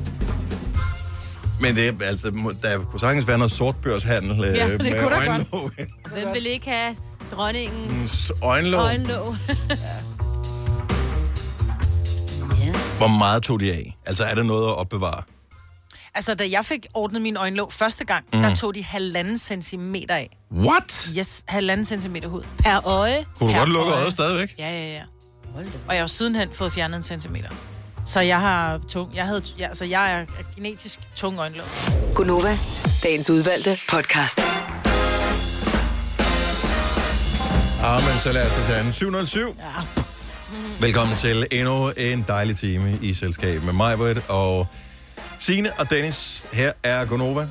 Speaker 1: Men det er, altså, må- der kunne sagtens være noget sortbørshandel ja,
Speaker 2: Ja,
Speaker 1: med
Speaker 2: det
Speaker 1: det
Speaker 3: kunne der
Speaker 1: øjenlåg.
Speaker 2: Hvem vil ikke have dronningen
Speaker 1: øjenlåg.
Speaker 2: øjenlåg?
Speaker 1: Hvor meget tog de af? Altså, er der noget at opbevare?
Speaker 3: Altså, da jeg fik ordnet min øjenlåg første gang,
Speaker 1: Mm.
Speaker 3: mm. der tog de halvanden centimeter af.
Speaker 1: What?
Speaker 3: Yes, halvanden centimeter hud. Per øje.
Speaker 1: Kunne du
Speaker 3: Per
Speaker 1: godt lukke
Speaker 3: øje.
Speaker 1: øjet stadigvæk?
Speaker 3: Ja, ja, ja. Og jeg har jo sidenhen fået fjernet en centimeter. Så jeg har tung... Jeg, havde, ja, altså, jeg er genetisk tung øjenlåg.
Speaker 6: Gunova, dagens udvalgte podcast.
Speaker 1: Ah, men så lad os da tage den. 707. Ja. Velkommen til endnu en dejlig time i selskab med mig, og Signe og Dennis. Her er Gonova.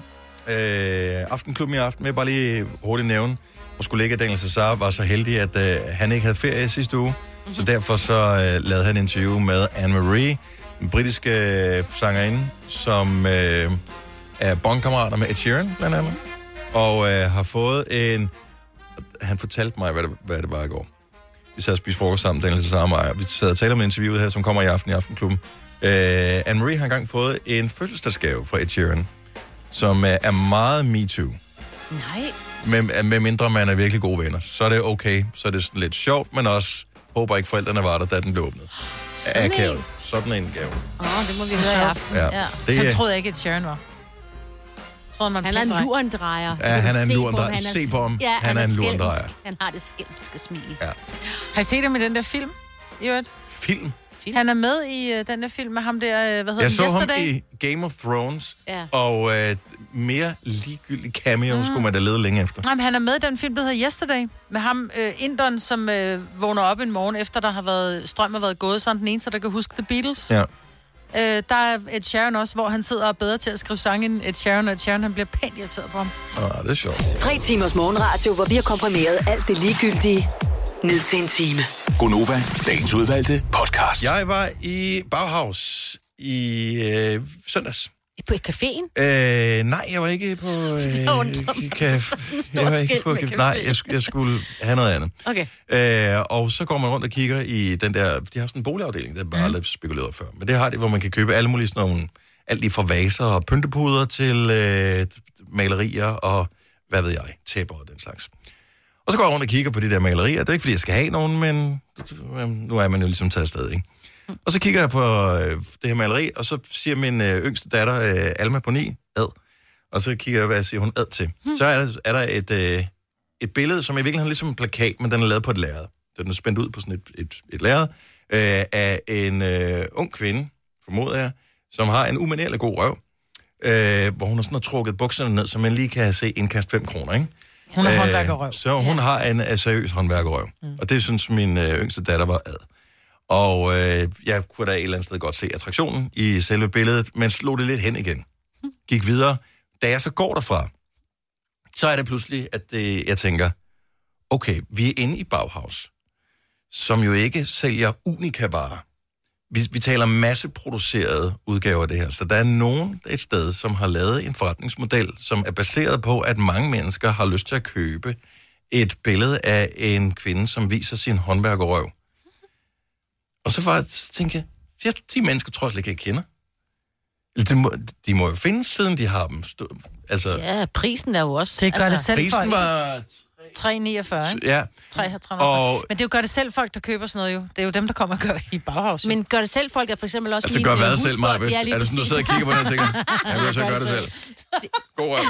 Speaker 1: Øh, aftenklubben i aften vil jeg bare lige hurtigt nævne. Vores kollega Daniel Cesar var så heldig, at øh, han ikke havde ferie sidste uge. Mm-hmm. Så derfor så øh, lavede han et interview med Anne-Marie, den britiske øh, sangerinde, som øh, er bondkammerater med Ed Sheeran, blandt andet. Og øh, har fået en han fortalte mig, hvad det, hvad det var i går. Vi sad og spiste frokost sammen, Daniel Cesar og mig, og vi sad og talte om interviewet her, som kommer i aften i Aftenklubben. Øh, Anne-Marie har engang fået en fødselsdagsgave fra Ed Sheeran, som øh, er meget MeToo.
Speaker 5: Nej.
Speaker 1: Med, øh, med mindre man er virkelig gode venner, så er det okay. Så er det sådan lidt sjovt, men også håber ikke forældrene var der, da den blev åbnet.
Speaker 3: Sådan en.
Speaker 1: Akavet. Sådan en gave.
Speaker 3: Åh, oh, det må vi
Speaker 1: høre i aften. Ja. Det-
Speaker 3: Det, så troede jeg ikke, at Sharon var. Troede man
Speaker 5: Han er en lurendrejer.
Speaker 1: Ja, han er en lurendrejer. Se på ham.
Speaker 5: Ja,
Speaker 1: Han er en
Speaker 5: skælmsk.
Speaker 1: lurendrejer.
Speaker 5: Han har det skælmske smil.
Speaker 1: Ja.
Speaker 3: Har I set ham i den der film? I øvrigt?
Speaker 1: Film?
Speaker 5: Film?
Speaker 3: Han er med i øh, den der film med ham der, øh, hvad hedder
Speaker 1: Jeg
Speaker 3: den?
Speaker 1: så ham
Speaker 3: Yesterday?
Speaker 1: i Game of Thrones,
Speaker 3: Ja.
Speaker 1: og øh, mere ligegyldig cameo mm.
Speaker 3: Mm.
Speaker 1: skulle man da lede længe efter.
Speaker 3: Jamen, han er med i den film, der hedder Yesterday, med ham, øh, Indon, som øh, vågner op en morgen, efter der har været, strøm har været gået, så er han den eneste, der kan huske The Beatles.
Speaker 1: Ja.
Speaker 3: Øh, der er Ed Sheeran også, hvor han sidder og er bedre til at skrive sange end Ed Sheeran, og Ed Sheeran han bliver pænt irriteret på ham.
Speaker 1: Ah, det er sjovt.
Speaker 6: Tre timers morgenradio, hvor vi har komprimeret alt det ligegyldige ned til en time.
Speaker 1: Gonova, dagens udvalgte podcast. Jeg var i Bauhaus i øh, søndags.
Speaker 5: På caféen?
Speaker 1: Øh, nej, jeg var ikke på... Øh, caf- jeg var ikke på caf- Nej, jeg, sk- jeg skulle have noget andet.
Speaker 5: Okay.
Speaker 1: Øh, og så går man rundt og kigger i den der... De har sådan en boligafdeling, der er bare lidt spekuleret før. Men det har det, hvor man kan købe alle mulige sådan nogle... Alt lige fra vaser og pyntepuder til øh, malerier og hvad ved jeg, tæpper og den slags. Og så går jeg rundt og kigger på de der malerier. Det er ikke, fordi jeg skal have nogen, men øh, nu er man jo ligesom taget afsted, ikke? Og så kigger jeg på øh, det her maleri, og så siger min øh, yngste datter, øh, Alma på 9, ad. Og så kigger jeg, hvad siger hun ad til. Hmm. Så er der, er der et, øh, et billede, som i virkeligheden er ligesom en plakat, men den er lavet på et lærred. Så Den er spændt ud på sådan et, et, et lærred øh, af en øh, ung kvinde, formoder jeg, som har en umanerlig god røv, øh, hvor hun har sådan har trukket bukserne ned, så man lige kan se indkast 5 kroner, ikke?
Speaker 3: Hun
Speaker 1: Øh,
Speaker 3: er håndværkerrøv.
Speaker 1: Så hun ja. har en øh, seriøs håndværkerøv. Mm. Og det synes min øh, yngste datter var ad. Og øh, jeg kunne da et eller andet sted godt se attraktionen i selve billedet, men slog det lidt hen igen. Gik videre. Da jeg så går derfra, så er det pludselig, at det, jeg tænker, okay, vi er inde i Bauhaus, som jo ikke sælger unika-varer. Vi, vi taler masseproducerede udgaver af det her. Så der er nogen et sted, som har lavet en forretningsmodel, som er baseret på, at mange mennesker har lyst til at købe et billede af en kvinde, som viser sin håndværkerøv. Og så var jeg tænke, jeg, de mennesker tror jeg slet ikke, jeg kender. Eller De må, de må jo findes, siden de har dem. Stå, altså,
Speaker 5: Ja, prisen er jo også...
Speaker 3: Det gør det
Speaker 2: Altså,
Speaker 3: selv
Speaker 1: prisen
Speaker 3: folk.
Speaker 1: var...
Speaker 3: 349, ikke?
Speaker 1: Ja,
Speaker 3: 350.
Speaker 1: Og-
Speaker 3: Men det er jo gør det selv folk, der køber sådan noget jo. Det er jo dem, der kommer og gør i Bauhaus.
Speaker 5: Men gør det selv folk, er for eksempel også...
Speaker 1: altså
Speaker 5: min,
Speaker 1: gør
Speaker 5: øh,
Speaker 1: hvad selv,
Speaker 5: husbund.
Speaker 1: Maja?
Speaker 5: Ja, lige
Speaker 1: Er det sådan, du
Speaker 5: præcis.
Speaker 1: sidder og kigger på det og tænker, jeg vil så gøre det selv. God røv.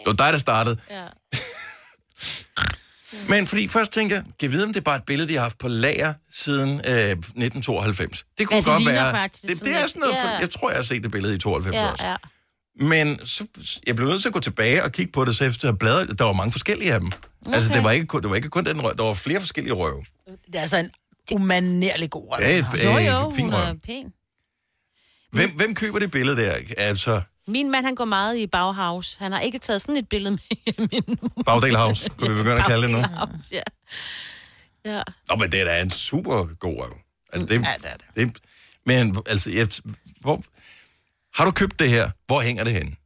Speaker 1: Det var dig, der startede.
Speaker 5: Ja.
Speaker 1: Altså, Men fordi først tænker jeg, kan jeg vide, om det er bare et billede, de har haft på lager siden øh, 1992? Det kunne
Speaker 5: Ja, det
Speaker 1: godt
Speaker 5: ligner
Speaker 1: være.
Speaker 5: faktisk
Speaker 1: Det, det
Speaker 5: sådan
Speaker 1: er
Speaker 5: lidt.
Speaker 1: sådan noget,
Speaker 5: Ja.
Speaker 1: for, jeg tror, jeg har set det billede i 92
Speaker 5: Ja,
Speaker 1: altså også.
Speaker 5: ja.
Speaker 1: Men så, jeg blev nødt til at gå tilbage og kigge på det, så efter at bladre, der var mange forskellige af dem. Okay. Altså, det var, ikke, kun- det var ikke kun den røv, der var flere forskellige røve.
Speaker 3: Det er altså en umanerlig god røv.
Speaker 1: Ja,
Speaker 3: hun har.
Speaker 1: øh, Jo, jo, fin hun er røv.
Speaker 5: pæn.
Speaker 1: Hvem, hvem køber det billede der? Altså,
Speaker 5: Min mand, han går meget i Bauhaus. Han har ikke taget sådan et billede med
Speaker 1: Mhm.
Speaker 5: hjem endnu.
Speaker 1: Bagdel House, kunne vi begynde at kalde det nu.
Speaker 5: Bauhaus, Ja. ja.
Speaker 1: Nå, men det er da en super god røv. Altså, det,
Speaker 5: Mm. Ja, det er
Speaker 1: det. det. Men altså, jeg, hvor, har du købt det her? Hvor hænger det hen?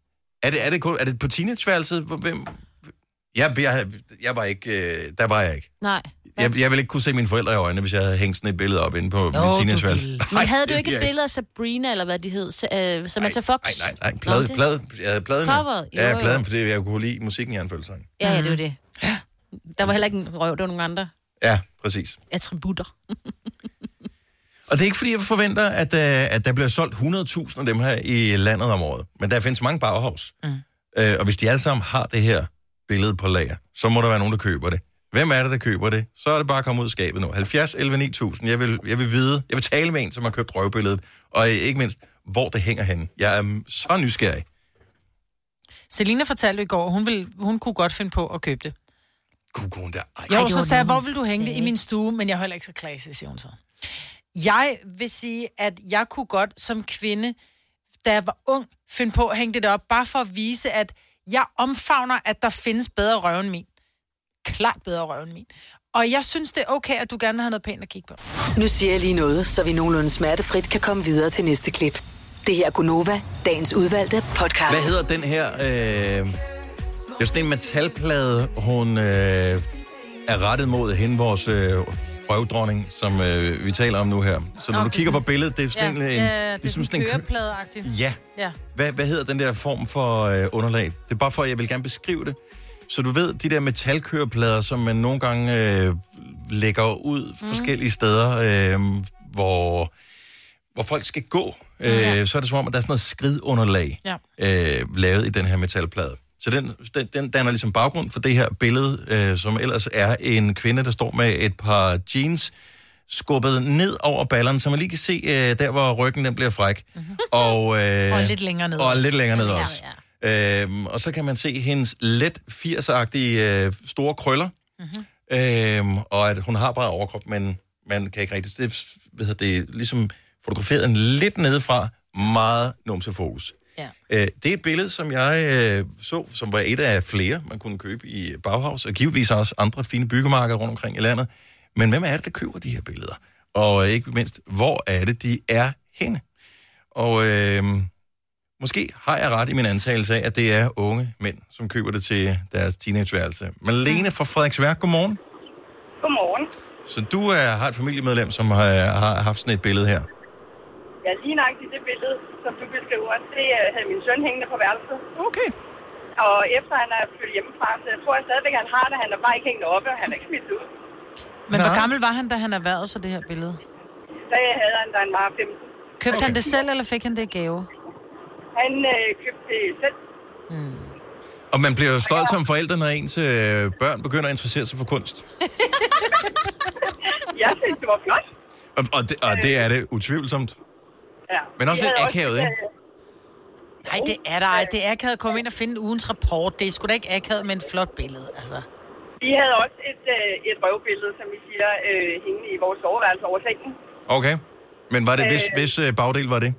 Speaker 1: Er det, er det, kun, er det på teenageværelset? Hvor- Hvem? Jeg, jeg, jeg var ikke, øh, der var jeg ikke.
Speaker 5: Nej.
Speaker 1: Jeg, jeg ville ikke kunne se mine forældre i øjnene, hvis jeg havde hængt sådan et billede op inde på min
Speaker 5: du
Speaker 1: teenageværelse.
Speaker 5: Men
Speaker 1: Nej,
Speaker 5: havde
Speaker 1: det
Speaker 5: du ikke
Speaker 1: bliver
Speaker 5: et billede af Sabrina, eller hvad de hed, så, øh, Samantha Fox?
Speaker 1: Nej, nej, nej.
Speaker 5: Nå,
Speaker 1: Plade,
Speaker 5: det-
Speaker 1: plade, jeg havde pladen.
Speaker 5: Coveret, jo,
Speaker 1: Ja,
Speaker 5: jo.
Speaker 1: pladen, fordi jeg kunne lide musikken i anfølgelserne.
Speaker 5: Ja, ja, det var det. Der var heller ikke en røv, det var nogle andre
Speaker 1: Ja, præcis.
Speaker 5: attributter.
Speaker 1: Og det er ikke, fordi jeg forventer, at, øh, at der bliver solgt 100.000 af dem her i landet om året. Men der findes mange Bauhaus. Mm. Øh, og hvis de alle sammen har det her billede på lager, så må der være nogen, der køber det. Hvem er det, der køber det? Så er det bare at komme ud af skabet nu. 70, 11, 9000. Jeg vil, jeg vil vide, jeg vil tale med en, som har købt røvbilledet. Og øh, ikke mindst, hvor det hænger henne. Jeg er mm, så nysgerrig.
Speaker 3: Selina fortalte i går, hun, ville, hun kunne godt finde på at købe det.
Speaker 1: Kunne hun der? Ej,
Speaker 3: Jo,
Speaker 2: Ej,
Speaker 3: Ej,
Speaker 2: det var
Speaker 3: så sagde jeg,
Speaker 2: noget,
Speaker 3: hvor
Speaker 2: hun
Speaker 3: vil du hænge det? I
Speaker 2: sagde.
Speaker 3: min stue, men jeg er heller ikke så klasse, siger hun så. Jeg vil sige, at jeg kunne godt som kvinde, da jeg var ung, finde på at hænge det op, bare for at vise, at jeg omfavner, at der findes bedre røv end min. Klart bedre røv end min. Og jeg synes, det er okay, at du gerne vil have noget pænt at kigge på.
Speaker 6: Nu siger jeg lige noget, så vi nogenlunde smertefrit kan komme videre til næste klip. Det her er Gunova, dagens udvalgte podcast.
Speaker 1: Hvad hedder den her? Øh, det er sådan en metalplade, hun øh, er rettet mod hende, vores øh, røvdronning, som øh, vi taler om nu her. Så når
Speaker 3: Nå,
Speaker 1: du
Speaker 3: det er
Speaker 1: kigger på
Speaker 3: sådan-
Speaker 1: billedet, det er sådan en...
Speaker 3: ja, det er sådan
Speaker 1: kø-
Speaker 3: kørepladeagtigt.
Speaker 1: Ja.
Speaker 3: Ja.
Speaker 1: Hvad, hvad hedder den der form for øh, underlag? Det er bare for, at jeg vil gerne beskrive det. Så du ved, de der metalkøreplader, som man nogle gange øh, lægger ud mm. forskellige steder, øh, hvor, hvor folk skal gå, øh, så er det som om, at der er sådan noget skridunderlag
Speaker 3: Ja.
Speaker 1: øh, lavet i den her metalplade. Så den, den, den danner ligesom baggrund for det her billede, øh, som ellers er en kvinde, der står med et par jeans, skubbet ned over ballerne, så man lige kan se øh, der, hvor ryggen den bliver fræk. Mm-hmm. Og, øh,
Speaker 3: Mhm. Og lidt længere ned
Speaker 1: Og
Speaker 3: også.
Speaker 1: lidt længere ned også. Øhm, og så kan man se hendes let 80-agtige øh, store krøller. Mm-hmm. Øhm, og at hun har bare overkrop, men man kan ikke rigtig... Det, er- hvad hedder det er ligesom fotograferet en lidt nedefra, meget numse fokus.
Speaker 3: Ja.
Speaker 1: Øh, det er et billede, som jeg øh, så, som var et af flere, man kunne købe i Bauhaus, og givetvis også andre fine byggemarkeder rundt omkring i landet. Men hvem er det, der køber de her billeder? Og øh, ikke mindst, hvor er det, de er henne? Og øh, måske har jeg ret i min antagelse af, at det er unge mænd, som køber det til deres teenageværelse. Malene fra Frederiksværk, godmorgen.
Speaker 11: Godmorgen.
Speaker 1: Så du øh, har et familiemedlem, som har, har haft sådan et billede her.
Speaker 11: Ja, lige nok i det billede, som du beskriver, det øh, havde min søn hængende på værelset.
Speaker 1: Okay.
Speaker 11: Og efter han er flyttet hjemmefra, så jeg tror jeg stadigvæk, han har det. Han er bare ikke hængt oppe, og han er ikke smidt ud.
Speaker 3: Men hvor
Speaker 1: Nej.
Speaker 3: gammel var han, da han erhvervede sig det her billede?
Speaker 11: Så havde han, da han var 15.
Speaker 3: Købte han det selv, eller fik han det i gave?
Speaker 11: Han øh, købte det selv.
Speaker 1: Og man bliver jo stolt som forældre, når ens øh, børn begynder at interessere sig for kunst.
Speaker 11: Jeg synes, det var flot.
Speaker 1: Og, og, det, og det er det utvivlsomt.
Speaker 11: Ja.
Speaker 1: Men også
Speaker 11: Vi
Speaker 1: lidt
Speaker 11: havde
Speaker 1: akavet, ikke?
Speaker 11: øh,
Speaker 3: Nej, det er der ej. Det er akavet at komme ind og finde ugens rapport. Det er sgu da ikke akavet med en flot billede, altså.
Speaker 11: Vi havde også et, øh, et røvbillede, som vi siger, øh, hængende i vores soveværelse over sengen.
Speaker 1: Okay. Men var det, hvis,
Speaker 11: Øh.
Speaker 1: hvis øh, bagdel var det?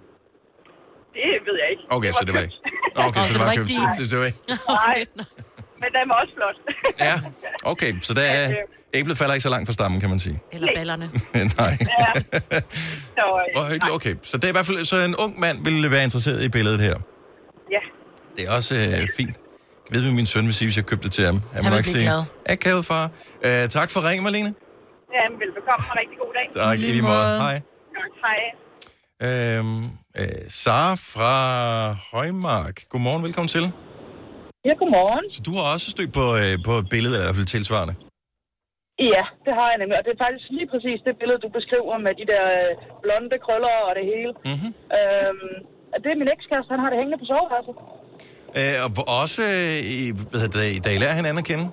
Speaker 11: Det ved jeg ikke.
Speaker 1: Okay, så det var ikke. Nå, Okay, så det var købt. Så det var ikke.
Speaker 11: Nej, men den var også flot.
Speaker 1: Ja, okay. Så der er, æblet falder ikke så langt fra stammen, kan man sige.
Speaker 12: Eller ballerne.
Speaker 1: Nej.
Speaker 11: Så, øh,
Speaker 1: Hvor hyggeligt. Okay, så det er i hvert fald, så en ung mand ville være interesseret i billedet her.
Speaker 11: ja.
Speaker 1: Det er også øh, fint. Jeg ved, hvad min søn vil sige, hvis jeg købte det til ham. Han, må
Speaker 3: vil
Speaker 1: nok
Speaker 3: blive
Speaker 1: sige,
Speaker 3: glad.
Speaker 1: Akavet, far. Øh, tak for ringen, Marlene.
Speaker 11: Jamen, velbekomme og rigtig god dag.
Speaker 1: Tak, i
Speaker 3: lige
Speaker 1: lige måde.
Speaker 3: måde.
Speaker 1: Hej.
Speaker 11: Tak, hej.
Speaker 1: Øhm, øh, Sara fra Højmark. Godmorgen, velkommen til.
Speaker 11: Ja, godmorgen.
Speaker 1: Så du har også stødt på, øh, på et billede, eller i hvert fald tilsvarende.
Speaker 11: Ja, det har jeg nemlig. Og det er faktisk lige præcis det billede, du beskriver med de der øh, blonde krøller og det hele.
Speaker 1: Mhm.
Speaker 11: Øhm, og det er min ekskæreste, han har det hængende på soveværelset.
Speaker 1: Øh, og hvor også, øh, i, hvad hedder det, da I lærer hinanden at kende.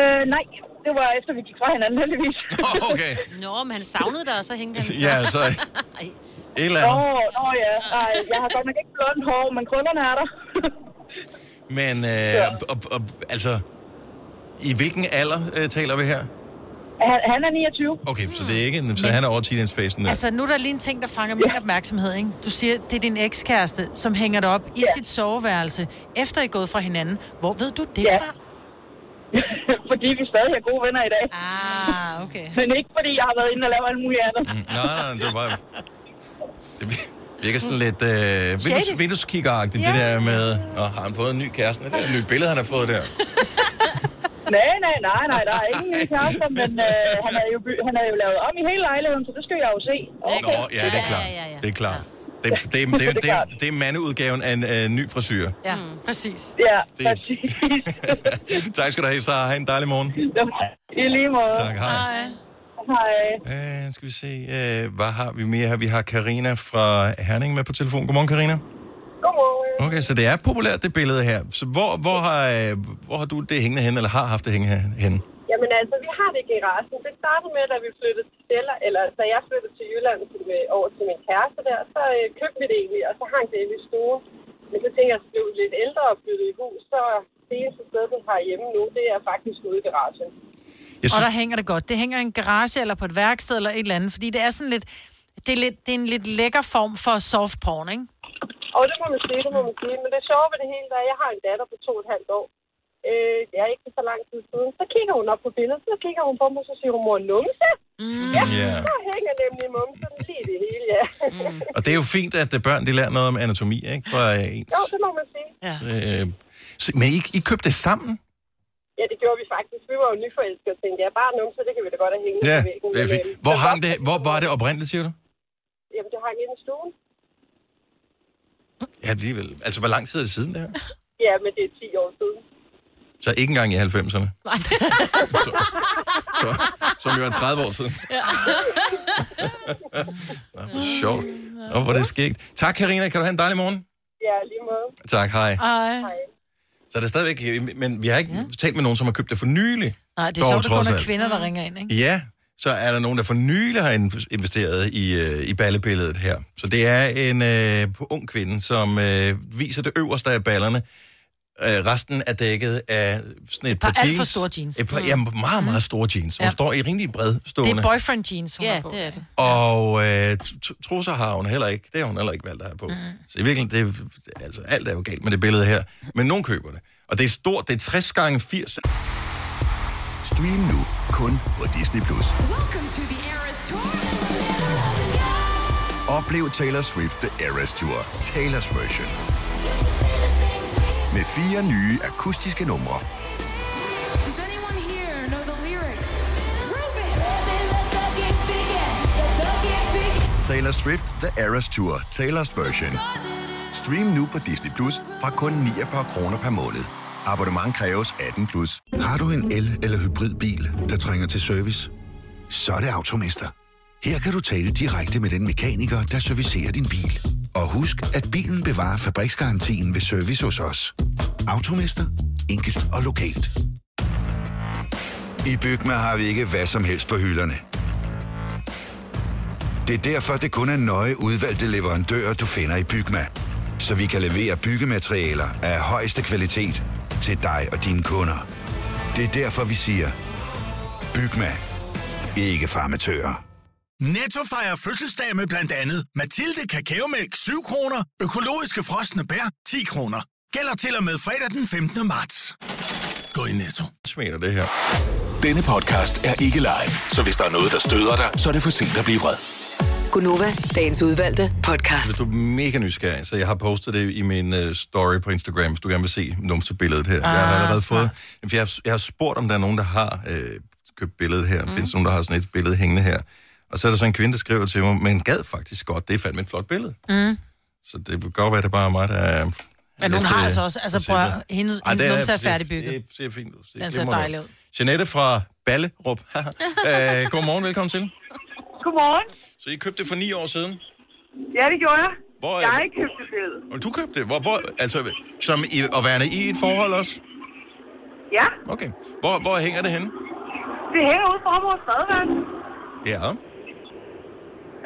Speaker 11: Øh, nej, det var efter, vi gik fra hinanden, heldigvis.
Speaker 1: Åh, okay.
Speaker 2: Nå, men han savnede dig, og så hængte han...
Speaker 1: Ja, altså, et eller
Speaker 11: Nå,
Speaker 1: andet.
Speaker 11: nå ja. Ej, jeg har godt nok ikke blond hår, men krøllerne er der.
Speaker 1: Men, øh, og, og, og, altså, i hvilken alder øh, taler vi her?
Speaker 11: han, han er 29.
Speaker 1: Okay, så det er ikke en, så han er over teenagefasen der.
Speaker 3: Altså, nu er der lige en ting, der fanger min opmærksomhed, ikke? Du siger, det er din ekskæreste, som hænger dig op i sit soveværelse, efter I er gået fra hinanden. Hvor ved du det
Speaker 11: Ja.
Speaker 3: fra?
Speaker 11: fordi vi stadig er gode venner i dag.
Speaker 3: Ah, okay.
Speaker 11: Men ikke fordi jeg har været inde og lavet alt muligt andet.
Speaker 1: Mm, Nej, nej, det var bare... Det vir- virker sådan lidt øh, vindues, vindueskiggeragtigt, det der med... Og har han fået en ny kæreste? Det er et nyt billede, han har fået der.
Speaker 11: Nej, nej, nej, nej, der er ingen nye kærester, men øh, han, er jo, by- han er jo lavet om i hele lejligheden, så det skal jeg jo se.
Speaker 1: Nå, ja, det er klart.
Speaker 2: Ja, ja, ja.
Speaker 1: Det er klart. Det, det, det, det, det, det, det er mandeudgaven af en øh, ny frisyr.
Speaker 3: Ja, præcis.
Speaker 11: Ja,
Speaker 1: Det-
Speaker 11: præcis.
Speaker 1: tak skal du have, Sara. Ha' en dejlig morgen.
Speaker 11: I lige måde.
Speaker 1: Tak, hej.
Speaker 3: Nej.
Speaker 13: Hej.
Speaker 1: Øh, skal vi se, øh, hvad har vi mere her? Vi har Karina fra Herning med på telefon. Godmorgen, Karina. Godmorgen. Okay, så det er populært, det billede her. Så hvor, hvor, har, øh, hvor har du det hængende hen, eller har haft det hængende hen?
Speaker 11: Jamen altså, vi har det i garagen. Det startede med, da vi flyttede til Sjælland, eller da jeg flyttede til Jylland til, med, over til min kæreste der, så øh, købte vi det egentlig, og så hang det inde i stuen. Men så tænker jeg, at jeg blev lidt ældre og flyttede i hus, så det eneste sted, den har hjemme nu, det er faktisk ude i garagen.
Speaker 3: Synes... Og der hænger det godt. Det hænger i en garage eller på et værksted eller et eller andet, fordi det er sådan lidt... Det er, lidt, det er en lidt lækker form for soft porn, ikke?
Speaker 11: Og det må man sige, det må man sige. Men det sjove ved det hele der er, at jeg har en datter på to og et halvt år. Øh, det er ikke så lang tid siden. Så kigger hun op på billedet, så kigger hun på mig, så siger hun, mor, numse? Mm. Ja,
Speaker 1: Yeah.
Speaker 11: der hænger nemlig mumsen lige i det hele, ja. Mm.
Speaker 1: Og det er jo fint, at øh, børn de lærer noget om anatomi, ikke? For, øh, ens,
Speaker 11: jo, det må man sige. Ja.
Speaker 1: øh, så- men I, I købte det sammen?
Speaker 11: ja, det gjorde vi faktisk. Vi var jo nyforelskede og tænkte, ja, bare numse, det kan vi da godt have hængende
Speaker 1: Ja,
Speaker 11: på væggen.
Speaker 1: det er
Speaker 11: Men,
Speaker 1: fint. Hvor, hang det, hvor var det oprindeligt, siger du?
Speaker 11: øh, Jamen, det hang inde i stuen.
Speaker 1: Ja, alligevel. Altså, hvor lang tid er det siden, det her?
Speaker 11: Ja, men det er 10 år siden.
Speaker 1: Så ikke engang i 90'erne,
Speaker 11: Nej.
Speaker 1: som jo er 30 år siden. Nå, hvor sjovt. Nå, hvor er det skægt. Tak, Karina. Kan du have en dejlig morgen?
Speaker 11: ja, lige måde.
Speaker 1: Tak, hej.
Speaker 3: Hej.
Speaker 1: Så er det stadigvæk, øh, men vi har ikke ja. talt med nogen, som har købt det for nylig.
Speaker 3: Nej, det er
Speaker 1: Dog,
Speaker 3: sjovt, at
Speaker 1: trods
Speaker 3: kun er
Speaker 1: alt.
Speaker 3: kvinder, der ringer ind, ikke?
Speaker 1: Ja, så er der nogen, der for nylig har inv- investeret i, øh, i ballebilledet her. Så det er en øh, ung kvinde, som øh, viser det øverste af ballerne. Øh, resten er dækket af sådan et
Speaker 3: par
Speaker 1: par,
Speaker 3: alt
Speaker 1: jeans.
Speaker 3: for store jeans.
Speaker 1: Et par,
Speaker 3: Mm.
Speaker 1: ja, meget, meget store jeans. Hun
Speaker 3: Ja.
Speaker 1: står i rimelig bredstående.
Speaker 3: Det er boyfriend jeans, hun ja, har på. det er det.
Speaker 1: Og øh, tr- tr- trusser har hun heller ikke. Det har hun heller ikke valgt at have på. Mm. Så i virkeligheden, det, er- altså, alt er jo galt med det billede her. Men nogen køber det. Og det er stort. Det er 60 gange 80.
Speaker 7: Stream nu kun på Disney+. Plus. Oplev Taylor Swift The Eras Tour, Taylor's version. Med fire nye akustiske numre. Taylor Swift The Eras Tour, Taylor's version. Stream nu på Disney Plus fra kun 49 kroner per måned. Abonnement kræves 18 plus.
Speaker 14: Har du en el- eller hybridbil, der trænger til service? Så er det Automester. Her kan du tale direkte med den mekaniker, der servicerer din bil. Og husk, at bilen bevarer fabriksgarantien ved service hos os. Automester. Enkelt og lokalt.
Speaker 7: I Bygma har vi ikke hvad som helst på hylderne. Det er derfor, det kun er nøje udvalgte leverandører, du finder i Bygma. Så vi kan levere byggematerialer af højeste kvalitet til dig og dine kunder. Det er derfor, vi siger, Bygma. Ikke farmatører.
Speaker 10: Netto fejrer fødselsdag med blandt andet
Speaker 7: Mathilde Kakaomælk 7 kroner, økologiske frosne bær 10 kroner. Gælder til og med fredag den 15. marts.
Speaker 1: Gå i netto. Smager det her.
Speaker 15: Denne podcast er ikke live, så hvis der er noget, der støder dig, så er det for sent at blive vred.
Speaker 6: Gunova, dagens udvalgte podcast.
Speaker 1: Hvis du er mega nysgerrig, så jeg har postet det i min øh, story på Instagram, hvis du gerne vil se numsebilledet her. Ah, jeg har
Speaker 16: Ah,
Speaker 1: allerede fået... Jamen, Jeg har, jeg har spurgt, om der er nogen, der har øh, købt billedet her. Mm. Findes der nogen, der har sådan et billede hængende her? Og så er der så en kvinde, der skriver til mig, men gad faktisk godt, det er fandme et flot billede.
Speaker 3: Mm.
Speaker 1: Så det kan godt være, det er bare mig, der er...
Speaker 3: Men hun
Speaker 1: lidt,
Speaker 3: har
Speaker 1: øh,
Speaker 3: altså også, altså prøv,
Speaker 1: forsinket.
Speaker 3: at- hendes,
Speaker 1: Ej, det
Speaker 3: hendes
Speaker 1: er-
Speaker 3: numse er
Speaker 1: det-
Speaker 3: færdigbygget.
Speaker 1: Det ser fint ud.
Speaker 3: Den ser
Speaker 1: glimrende
Speaker 3: dejlig ud.
Speaker 1: Jeanette fra Ballerup. øh, godmorgen, velkommen til.
Speaker 17: Godmorgen.
Speaker 1: Så I købte det for ni år siden?
Speaker 17: Ja, det gjorde jeg.
Speaker 1: Hvor er-
Speaker 17: jeg har ikke købt det billede.
Speaker 1: Og du købte det? Hvor, hvor, altså, som i, at være i et forhold også?
Speaker 17: Ja,
Speaker 1: Okay. Hvor, hvor hænger det henne?
Speaker 17: det hænger ude for vores badeværelse.
Speaker 1: Ja.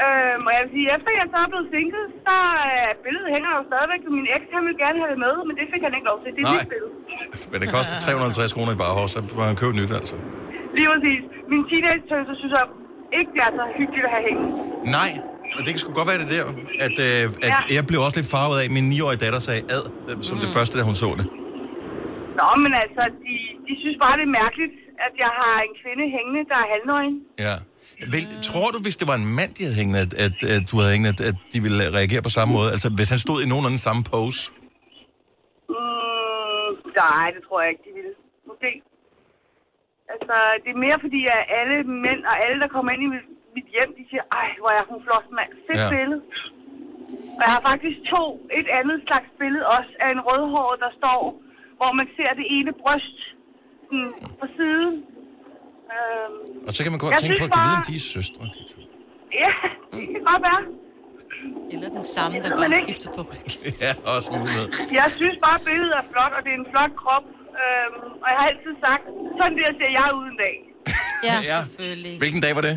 Speaker 17: Øhm, og jeg vil sige, efter jeg så er blevet single, så er billedet hænger jo stadigvæk. for Min eks, han ville gerne have det med, men det fik han ikke lov til. Det er
Speaker 1: Nej.
Speaker 17: mit billede.
Speaker 1: Men det koster 350 kroner i Bauhaus, så må han købe nyt, altså.
Speaker 17: Lige præcis. Min teenage-tøse synes jeg ikke, det er så hyggeligt at have hængende.
Speaker 1: Nej, og det kan sgu godt være det der, at, øh, at ja.
Speaker 17: Ja.
Speaker 1: jeg blev også lidt farvet af, at min 9-årige datter sagde ad, øh, som mm. det første, da hun så det.
Speaker 17: Nå, men altså, de, de synes bare, det er mærkeligt, at jeg har en kvinde hængende, der er halvnøgen.
Speaker 1: Ja. Vel, tror du, hvis det var en mand, de havde hængende, at, at, at du havde hængende, at, at de ville reagere på samme måde? Altså, hvis han stod i nogenlunde samme pose?
Speaker 17: Mm, nej, det tror jeg ikke, de ville. Måske. Altså, det er mere fordi, at alle mænd og alle, der kommer ind i mit, mit hjem, de siger, ej, hvor er hun flot, mand. Fedt
Speaker 1: Ja.
Speaker 17: ja. billede. Og jeg har faktisk to, et andet slags billede også, af en rødhåret, der står, hvor man ser det ene bryst sådan, på siden. Øhm,
Speaker 1: Og så kan man godt
Speaker 17: jeg
Speaker 1: tænke på,
Speaker 17: synes
Speaker 1: at kan vide, om
Speaker 17: bare-
Speaker 1: de er søstre. de to?
Speaker 17: Ja, det kan godt være.
Speaker 2: Eller den samme,
Speaker 17: Det
Speaker 2: der
Speaker 17: ved man
Speaker 2: bare
Speaker 17: ikke.
Speaker 2: skifter på ryg.
Speaker 1: ja, også mulighed.
Speaker 17: Jeg synes bare, at billedet er flot, og det er en flot krop. Øhm, og jeg har altid sagt, sådan der ser jeg ud en dag.
Speaker 2: Ja,
Speaker 1: ja. Hvilken dag var det?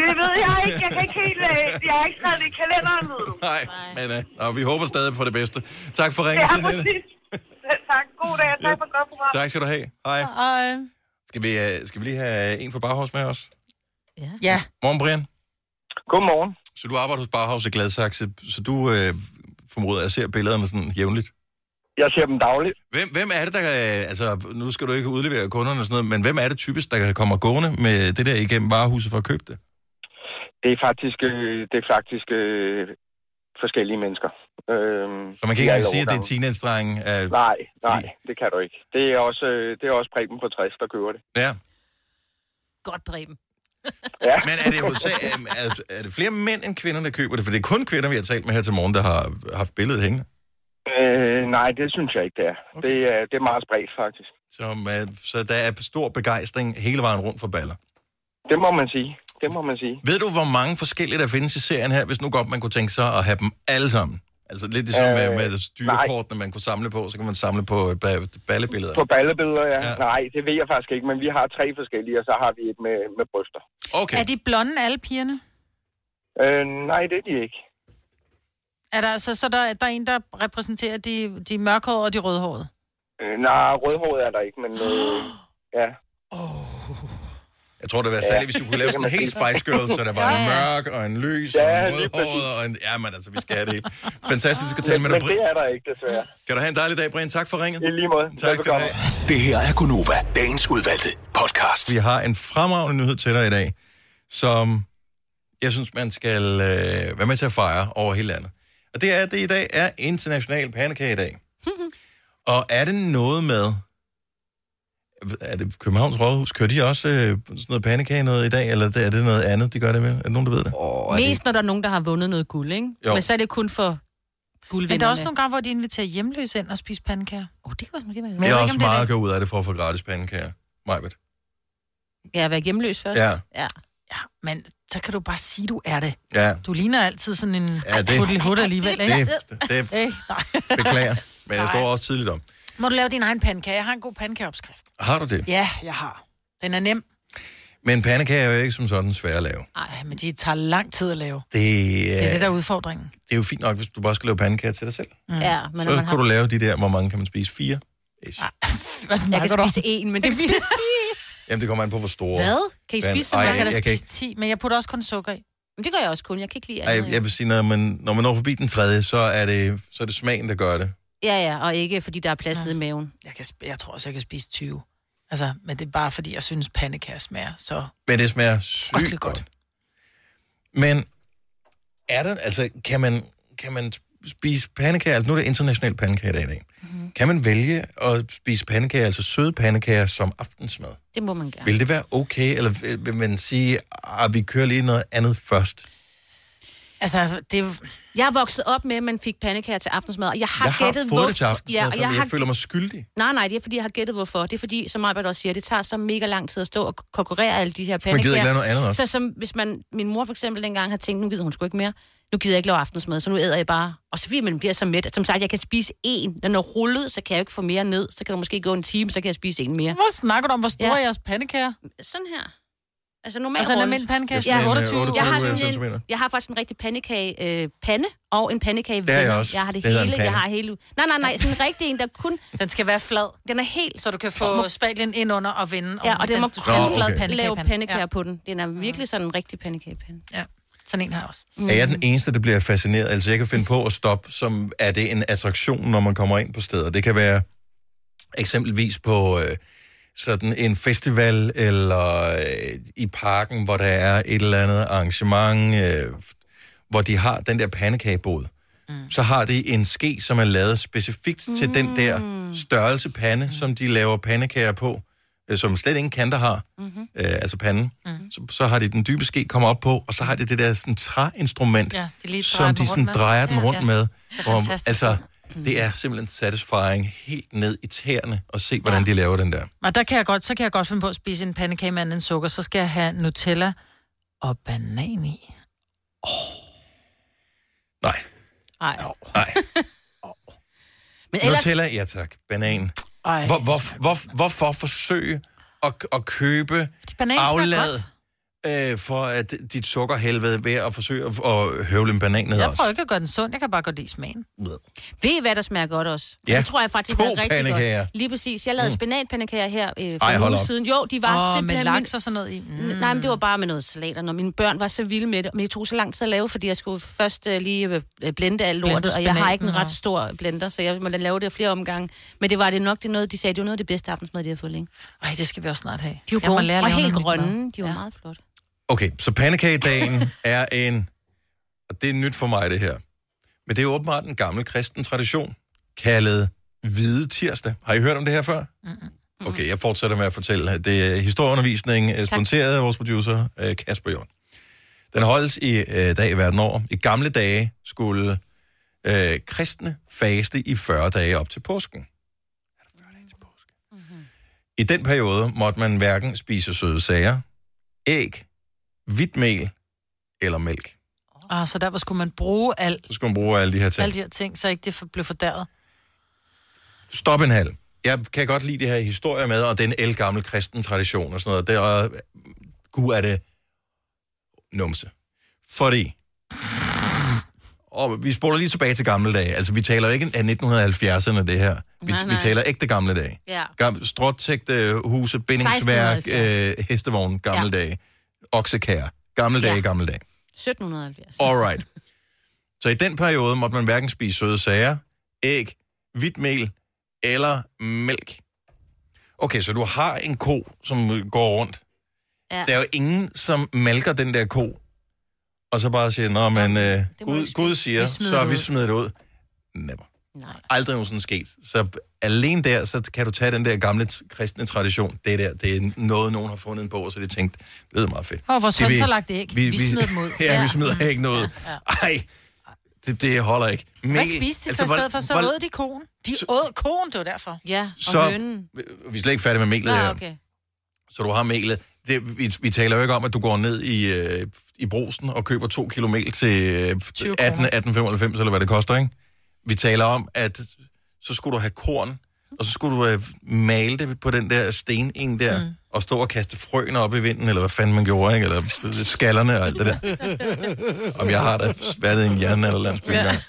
Speaker 17: Det ved jeg ikke. Jeg kan ikke helt... øh, Jeg har ikke skrevet det i kalenderen, ved du.
Speaker 1: Nej, men uh, nå, vi håber stadig på det bedste. Tak for ringen,
Speaker 17: Ja,
Speaker 1: Jeanette.
Speaker 17: præcis. Selv Tak. God dag. og Tak for et godt program.
Speaker 1: Tak skal du have. Hej.
Speaker 3: Hej.
Speaker 1: Skal vi, øh, skal vi lige have en fra Bauhaus med os?
Speaker 3: Ja.
Speaker 1: Morgen, Brian.
Speaker 16: Godmorgen.
Speaker 1: Så du arbejder hos Bauhaus i Gladsaxe, så du øh, formoder, jeg ser billederne sådan jævnligt?
Speaker 16: Jeg ser dem dagligt.
Speaker 1: Hvem, hvem er det, der... øh, Altså, nu skal du ikke udlevere kunderne og sådan noget, men hvem er det typisk, der kommer gående med det der igennem varehuset for at købe det?
Speaker 16: Det er faktisk, øh, det er faktisk øh, forskellige mennesker. Øh,
Speaker 1: Så man kan ikke engang sige, at det er teenage-drengen. Øh,
Speaker 16: Nej, nej, det kan du ikke. Det er også, øh, det er også Preben på 60, der kører det.
Speaker 1: Ja.
Speaker 2: Godt, Preben.
Speaker 16: Ja.
Speaker 1: Men er det, i USA, er, er- er det flere mænd end kvinder, der køber det? For det er kun kvinder, vi har talt med her til morgen, der har haft billedet hængende.
Speaker 16: Øh, nej, det synes jeg ikke, det er. Okay. Det, er det er meget spredt, faktisk.
Speaker 1: Som, øh, så der er stor begejstring hele vejen rundt for baller.
Speaker 16: Det må man sige. Det må man sige.
Speaker 1: Ved du, hvor mange forskellige der findes i serien her, hvis nu godt man kunne tænke sig at have dem alle sammen? Altså lidt ligesom øh,
Speaker 16: Øh,
Speaker 1: med, med styrekortene, man kunne samle på, så kan man samle på øh, ba- ballebilleder.
Speaker 16: På ballebilleder, ja. ja. Nej, det ved jeg faktisk ikke, men vi har tre forskellige, og så har vi et med, med bryster.
Speaker 1: Okay.
Speaker 3: Er de blonde, alle pigerne?
Speaker 16: Øh, nej, det er de ikke.
Speaker 3: Er der, altså, så, så der, der er en, der repræsenterer de, de mørkhårede og de rødhårede?
Speaker 16: Øh, nej, rødhåret er der ikke, men øh, ja.
Speaker 1: Jeg tror, det var særligt, hvis du kunne lave sådan en helt Spice Girl, så der var en mørk og en lys og en rødhåret og en... Jamen altså, vi skal have det hele. Fantastisk at tale med dig,
Speaker 16: Men det
Speaker 1: Brian.
Speaker 16: er der ikke, desværre.
Speaker 1: Kan du have en dejlig dag, Brian. Tak for ringet. I
Speaker 16: lige måde.
Speaker 1: Tak skal du have.
Speaker 15: Det her er Gunova, dagens udvalgte podcast.
Speaker 1: Vi har en fremragende nyhed til dig i dag, som jeg synes, man skal øh, være med til at fejre over hele landet. Og det er, at det i dag er International Pandekage-dag. Og er det noget med... Er det Københavns Rådhus? Kører de også øh, sådan noget pandekage noget i dag, eller er det noget andet, de gør det med? Er der nogen, der ved det?
Speaker 4: Oh,
Speaker 2: Mest når der er nogen, der har vundet noget guld, ikke?
Speaker 1: Jo.
Speaker 2: Jo. Men så er det kun for
Speaker 3: Men
Speaker 2: guldvinderne.
Speaker 3: der er også nogle gange, hvor de inviterer hjemløse ind og spiser pandekager.
Speaker 2: Åh, oh, det kan måske være.
Speaker 1: Det er også meget at gå ud af det for at få gratis pandekager. Majbet.
Speaker 2: Ja, at være hjemløs først.
Speaker 1: Ja.
Speaker 2: ja.
Speaker 3: Ja, men så kan du bare sige, du er det.
Speaker 1: Ja,
Speaker 3: Du ligner altid sådan en
Speaker 1: Ja,
Speaker 3: ja,
Speaker 1: det-
Speaker 3: det... huddelihut alligevel, ikke?
Speaker 1: det, det
Speaker 3: Hey, nej.
Speaker 1: beklager. Men jeg står også tidligt om.
Speaker 3: Må du lave din egen pandekage? Jeg har en god pandekageopskrift.
Speaker 1: Har du det?
Speaker 3: Ja, jeg har. Den er nem.
Speaker 1: Men pandekager er jo ikke som sådan svære at lave.
Speaker 3: Nej, men de tager lang tid at lave.
Speaker 1: Det,
Speaker 3: Det er det, der
Speaker 1: er-
Speaker 3: er udfordringen.
Speaker 1: det er jo fint nok, hvis du bare skal lave pandekager til dig selv.
Speaker 3: Mm. Ja,
Speaker 1: Men så kunne du lave de der, hvor mange kan man spise? Fire? Ish.
Speaker 2: Jeg kan
Speaker 3: snakker du
Speaker 2: spise én, men det
Speaker 3: Jeg kan
Speaker 2: bliver...
Speaker 3: spise 10.
Speaker 1: Jamen, det kommer an på, hvor store.
Speaker 3: Hvad? Kan I
Speaker 1: Men-
Speaker 3: spise så
Speaker 1: Ej,
Speaker 3: meget? Jeg kan
Speaker 1: jeg
Speaker 3: da
Speaker 1: kan
Speaker 3: spise 10, men jeg putter også kun sukker i.
Speaker 2: Men det gør jeg også kun. Jeg kan ikke lide andet.
Speaker 1: Ej, jeg vil sige, når man, når man når forbi den tredje, så er det, så er det smagen, der gør det.
Speaker 2: Ja, ja, og ikke fordi der er
Speaker 3: Mm.
Speaker 2: plads nede i maven.
Speaker 3: Jeg, kan, sp- jeg tror også, jeg kan spise 20. Altså, men det er bare fordi, jeg synes, pandekager smager. Så
Speaker 1: Men det smager sygt godt. godt. Men er der, altså, kan man, kan man spise pandekager? Altså, nu er det international pandekager i dag. Mm. Kan man vælge at spise pandekager, altså søde pandekager, som aftensmad?
Speaker 2: Det må man gerne.
Speaker 1: Ja. Vil det være okay, eller vil- vil man sige, at vi kører lige noget andet først?
Speaker 3: Altså, det...
Speaker 2: Jeg er vokset op med, at man fik pandekager til aftensmad, og jeg har,
Speaker 1: jeg har
Speaker 2: gættet,
Speaker 1: fået
Speaker 2: hvorfor-
Speaker 1: det til aftensmad,
Speaker 2: ja,
Speaker 1: ja,
Speaker 2: og
Speaker 1: fordi
Speaker 2: jeg,
Speaker 1: jeg,
Speaker 2: har...
Speaker 1: føler mig skyldig.
Speaker 2: Nej, nej, det er, fordi jeg har gættet, hvorfor. Det er, fordi, som Albert også siger, det tager så mega lang tid at stå og konkurrere alle de her
Speaker 1: gider ikke
Speaker 2: pandekager.
Speaker 1: lave noget andet også.
Speaker 2: Så som hvis man, min mor for eksempel dengang har tænkt, nu gider hun sgu ikke mere. Nu gider jeg ikke lave aftensmad, så nu æder jeg bare. Og så fordi man bliver så mæt. Som sagt, jeg kan spise én. Når den er rullet, så kan jeg jo ikke få mere ned. Så kan der måske gå en time, så kan jeg spise en mere.
Speaker 3: Hvor snakker du om, hvor store er jeres pandekager?
Speaker 2: Sådan her. Altså normalt
Speaker 3: Altså en
Speaker 2: rundt.
Speaker 3: almindelig pandekage?
Speaker 1: Ja, sådan
Speaker 2: Ja,
Speaker 1: en, øh,
Speaker 2: 28,
Speaker 1: 28
Speaker 2: jeg, har sådan
Speaker 1: centimeter.
Speaker 2: en, jeg har faktisk en rigtig pandekage øh, pande og en pandekage
Speaker 1: Det har jeg
Speaker 2: vinger.
Speaker 1: også.
Speaker 2: Jeg har det,
Speaker 1: Det hedder en
Speaker 2: hele,
Speaker 1: pande.
Speaker 2: jeg har hele. Nej, nej, nej, sådan en rigtig en, der kun...
Speaker 3: Den skal være flad.
Speaker 2: Den er helt...
Speaker 3: Så du kan få må... spadlen ind under og vende.
Speaker 2: Ja, og den må
Speaker 3: du
Speaker 2: kun
Speaker 3: skal have en
Speaker 2: okay.
Speaker 3: pandekagepande.
Speaker 2: lave pandekager
Speaker 3: Ja.
Speaker 2: ja. Mm. på den. Den er virkelig sådan en rigtig pandekagepande.
Speaker 3: Ja, sådan en har jeg også.
Speaker 1: Mm. Er jeg den eneste, der bliver fascineret? Altså, jeg kan finde på at stoppe, som er det en attraktion, når man kommer ind på steder. Det kan være eksempelvis på øh, sådan en festival, eller øh, i parken, hvor der er et eller andet arrangement, øh, hvor de har den der pandekagebåd. Mm. Så har de en ske, som er lavet specifikt mm. til den der størrelse pande, mm. som de laver pandekager på, øh, som slet ingen kanter har, mm-hmm. øh, altså panden. Mm. Så, så har de den dybe ske kommer op på, og så har de det der sådan træinstrument,
Speaker 3: Ja, de lige drejer
Speaker 1: som
Speaker 3: den
Speaker 1: de sådan
Speaker 3: rundt med.
Speaker 1: drejer den
Speaker 3: Ja,
Speaker 1: rundt
Speaker 3: ja.
Speaker 1: med.
Speaker 3: Så fantastisk. Mm.
Speaker 1: altså, Det er simpelthen satisfying helt ned i tæerne og se, hvordan de laver den der.
Speaker 3: Og der kan jeg godt, så kan jeg godt finde på at spise en pandekage med andet end sukker. Så skal jeg have Nutella og banan i.
Speaker 1: Nej,
Speaker 2: Nej.
Speaker 1: nej.
Speaker 2: Men
Speaker 1: ellers...
Speaker 2: ellers-
Speaker 1: Nutella, ja tak. Banan.
Speaker 3: Ej,
Speaker 1: Hvor, hvor, hvor, hvorfor forsøge at, at købe
Speaker 3: banan smager
Speaker 1: aflad øh, for at dit sukkerhelvede ved at forsøge at, at høvle en banan ned
Speaker 3: Jeg
Speaker 1: også?
Speaker 3: prøver ikke at gøre den sund, jeg kan bare godt lide smagen.
Speaker 2: Ved I, hvad der smager godt også?
Speaker 1: Ja.
Speaker 2: Det tror jeg faktisk
Speaker 1: To
Speaker 2: er rigtig
Speaker 1: pandekager.
Speaker 2: godt. Lige præcis. Jeg lavede mm. spinatpandekager her øh, for
Speaker 1: Ej,
Speaker 2: en
Speaker 1: hold
Speaker 2: uge
Speaker 1: op.
Speaker 2: siden. Jo, de var
Speaker 3: Åh, med
Speaker 2: simpelthen...
Speaker 3: laks og sådan noget i.
Speaker 2: Mm. Nej, men det var bare med noget salat, og når mine børn var så vilde med det. Men det tog så lang tid at lave, fordi jeg skulle først øh, lige øh, blende alt
Speaker 3: Blende
Speaker 2: lortet, og jeg har ikke en
Speaker 3: spinaten
Speaker 2: ret stor blender, så jeg må lave det flere omgange. Men det var det nok, det er noget, de sagde, det var noget af det bedste aftensmad, de havde fået længe.
Speaker 3: Ej, det skal vi også snart have.
Speaker 2: De var
Speaker 3: Jeg må
Speaker 2: gode,
Speaker 3: lære at
Speaker 2: og
Speaker 3: lave
Speaker 2: helt
Speaker 3: noget nyt
Speaker 2: grønne.
Speaker 3: mad.
Speaker 2: De var meget flotte.
Speaker 1: Okay, så pandekagedagen er en... Og det er nyt for mig, det her. Men det er åbenbart en gammel kristen tradition, kaldet Hvide Tirsdag. Har I hørt om det her før? Okay, jeg fortsætter med at fortælle. Det er historieundervisning, øh, sponsoreret af vores producer, øh, Kasper Jørn. Den holdes i øh, dag verden over. I gamle dage skulle øh, kristne faste i 40 dage op til påsken. I den periode måtte man hverken spise søde sager, æg, hvidt mel eller mælk.
Speaker 3: Ah, så derfor skulle man bruge alt,
Speaker 1: Så skulle man bruge alle de her ting.
Speaker 3: alle de her ting, så ikke det for, blev fordæret.
Speaker 1: Stop en halv. Jeg kan godt lide det her historie med, og den elgamle kristen tradition og sådan noget. Det er, gud er det numse. Fordi, og vi spoler lige tilbage til gamle dage. Altså, vi taler jo ikke af 1970'erne, det her. Vi,
Speaker 2: Nej,
Speaker 1: vi
Speaker 2: nej.
Speaker 1: taler ægte gamle dage.
Speaker 2: Ja.
Speaker 1: Gamle, stråtægte huse, bindingsværk, øh, hestevogn, gamle ja. dage. Oksekær, gamle dage, ja. gamle dage.
Speaker 2: 1770.
Speaker 1: Alright. Så i den periode måtte man hverken spise søde sager, æg, hvidt mel eller mælk. Okay, så du har en ko, som går rundt.
Speaker 2: Ja.
Speaker 1: Der er jo ingen, som malker den der ko, og så bare siger, nå, men øh, Gud, Gud siger,
Speaker 2: Vi smider
Speaker 1: så
Speaker 2: det
Speaker 1: vi
Speaker 2: ud."
Speaker 1: smider det ud. Never. Nej. Aldrig nogensinde sket. Så alene der, så kan du tage den der gamle t- kristne tradition. Det der, det er noget, nogen har fundet en bog, så de tænkte, det lyder meget fedt.
Speaker 3: Åh, vores
Speaker 1: Det
Speaker 3: høns
Speaker 1: vil-
Speaker 3: har lagt æg. Vi smider dem ud.
Speaker 1: ja,
Speaker 3: Ja.
Speaker 1: vi smider ikke noget ud. Ej, det, det holder ikke. Altså,
Speaker 3: Hvad spiste de så i stedet for? Så åd de konen. De åd konen, det var derfor.
Speaker 2: Ja, og
Speaker 1: Så- Vi er slet ikke færdige med melet
Speaker 2: Ah,
Speaker 1: her.
Speaker 3: okay.
Speaker 1: Så du har melet. Det, vi, vi taler jo ikke om, at du går ned i, øh, i brosen og køber to kilo mel til øh, 18, 1895, eller hvad det koster, ikke? Vi taler om, at så skulle du have korn, og så skulle du øh, male det på den der stening der, mm. og stå og kaste frøene op i vinden, eller hvad fanden man gjorde, ikke? Eller f- skallerne og alt det der. Om jeg har da været i en hjerne eller landsby ja.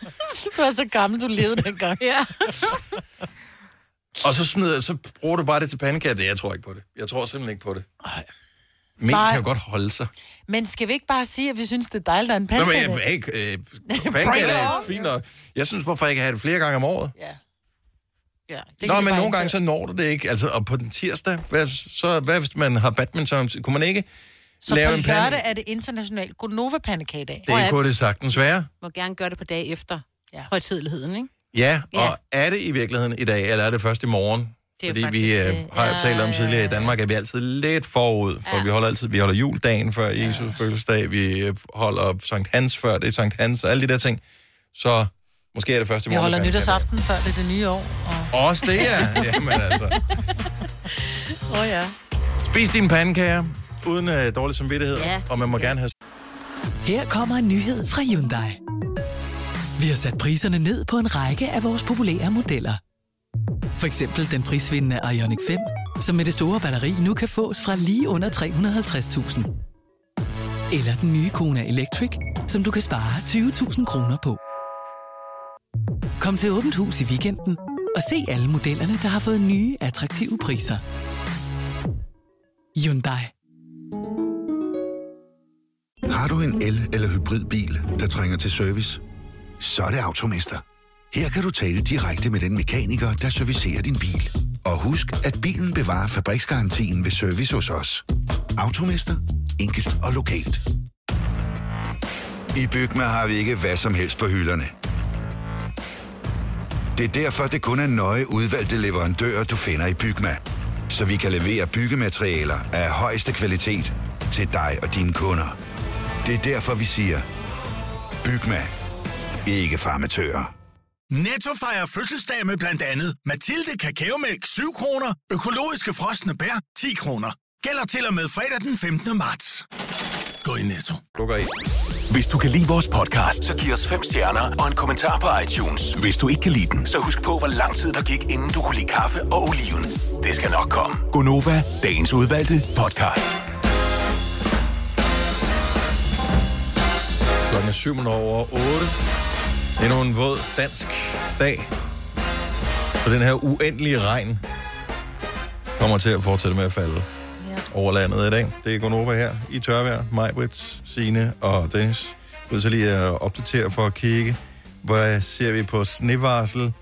Speaker 3: Du var så gammel, du levede dengang. ja.
Speaker 1: Og så, smider, så bruger du bare det til pandekager. Det, jeg tror ikke på det. Jeg tror simpelthen ikke på det. Mel
Speaker 3: Nej.
Speaker 1: kan jo godt holde sig.
Speaker 3: Men skal vi ikke bare sige, at vi synes, det er dejligt, at der er
Speaker 1: Nå, men
Speaker 3: en pandekage?
Speaker 1: jeg, ikke, øh, pandekager
Speaker 3: it
Speaker 1: er
Speaker 3: on.
Speaker 1: fint nok. Jeg synes, hvorfor ikke have det flere gange om året?
Speaker 3: Ja,
Speaker 1: Nå, men nogle gange så når du det ikke. Altså, og på den tirsdag, hvad, så, hvad hvis man har badminton? Kunne man ikke
Speaker 3: Så
Speaker 1: lave
Speaker 3: på
Speaker 1: en pande?
Speaker 3: lørdag er det international Gonova-pandekagedag.
Speaker 1: Det kunne det sagtens være.
Speaker 2: Må gerne gøre det på dag efter ja. højtidligheden, ikke?
Speaker 1: Ja, og er det i virkeligheden i dag, eller er det først i morgen?
Speaker 2: Det er
Speaker 1: Fordi
Speaker 2: faktisk
Speaker 1: vi
Speaker 2: det.
Speaker 1: øh, har jo talt om tidligere i Danmark, at vi er altid lidt forud, for ja. vi holder altid vi holder juledagen før Jesus fødselsdag, vi øh, holder Sankt Hans før det er Sankt Hans, og alle de der ting. Så måske er det først i
Speaker 3: Vi
Speaker 1: morgen.
Speaker 3: holder
Speaker 1: at man kan-
Speaker 3: nytårsaften, før det er det nye år.
Speaker 1: Også det, ja. Jamen altså.
Speaker 3: Åh oh, ja.
Speaker 1: Spis dine pandekager, uden øh, dårlig samvittighed,
Speaker 18: Ja.
Speaker 1: og man må gerne have...
Speaker 18: Her kommer en nyhed fra Hyundai. Vi har sat priserne ned på en række af vores populære modeller. For eksempel den prisvindende Ioniq 5, som med det store batteri nu kan fås fra lige under 350.000. Eller den nye Kona Electric, som du kan spare 20.000 kroner på. Kom til Åbent Hus i weekenden og se alle modellerne, der har fået nye, attraktive priser. Hyundai.
Speaker 14: Har du en el- eller hybridbil, der trænger til service? Så er det Automester. Her kan du tale direkte med den mekaniker, der servicerer din bil. Og husk, at bilen bevarer fabriksgarantien ved service hos os. Automester. Enkelt og lokalt.
Speaker 7: I Bygma har vi ikke hvad som helst på hylderne. Det er derfor, det kun er nøje udvalgte leverandører, du finder i Bygma. Så vi kan levere byggematerialer af højeste kvalitet til dig og dine kunder. Det er derfor, vi siger, Bygma. Ikke farmatører.
Speaker 19: Netto fejrer fødselsdag med blandt andet Mathilde Kakaomælk 7 kroner, økologiske frosne bær 10 kroner. Gælder til og med fredag den 15. marts. Gå i Netto.
Speaker 1: Lukker i.
Speaker 15: Hvis du kan lide vores podcast, så giv os fem stjerner og en kommentar på iTunes. Hvis du ikke kan lide den, så husk på, hvor lang tid der gik, inden du kunne lide kaffe og oliven. Det skal nok komme.
Speaker 14: Gonova, dagens udvalgte podcast.
Speaker 1: Klokken er syv minutter over 8. Endnu en våd dansk dag. Og den her uendelige regn kommer til at fortsætte med at falde ja. over landet i dag. Det er Gunova her i tørvejr. Mig, Britt, Signe og Dennis. Jeg vil så lige at opdatere for at kigge. Hvad ser vi på snevarsel?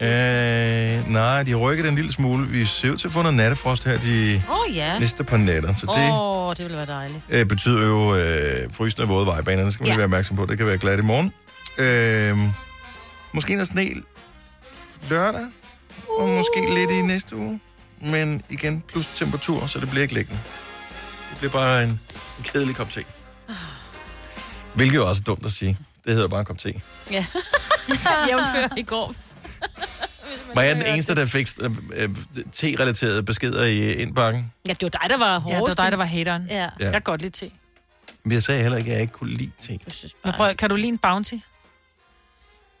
Speaker 1: Øh, nej, de rykker den en lille smule. Vi ser ud til at få noget nattefrost her de
Speaker 2: Åh, oh, ja.
Speaker 1: næste par natter. Så det,
Speaker 2: Åh, oh, det ville være dejligt.
Speaker 1: øh, betyder jo øh, frysende våde vejbaner. Det skal man ja.
Speaker 2: Ja.
Speaker 1: lige være opmærksom på. Det kan være glat i morgen. Øh, måske noget sne lørdag, og måske lidt i næste uge. Men igen, plus temperatur, så det bliver ikke liggende. Det bliver bare en, en kedelig kop te. Hvilket jo også er dumt at sige. Det hedder bare en kop te.
Speaker 2: Ja. Jævnfør i går.
Speaker 1: Var jeg den eneste, der fik øh, øh, te-relaterede beskeder i indbakken?
Speaker 2: Ja, det var dig, der var hårdest.
Speaker 3: Ja, det var dig, der var hateren.
Speaker 2: Ja.
Speaker 1: Ja.
Speaker 3: Jeg kan godt lide te.
Speaker 1: Men jeg sagde heller ikke, at jeg ikke kunne lide te.
Speaker 3: Men prøv, kan du lide en bounty?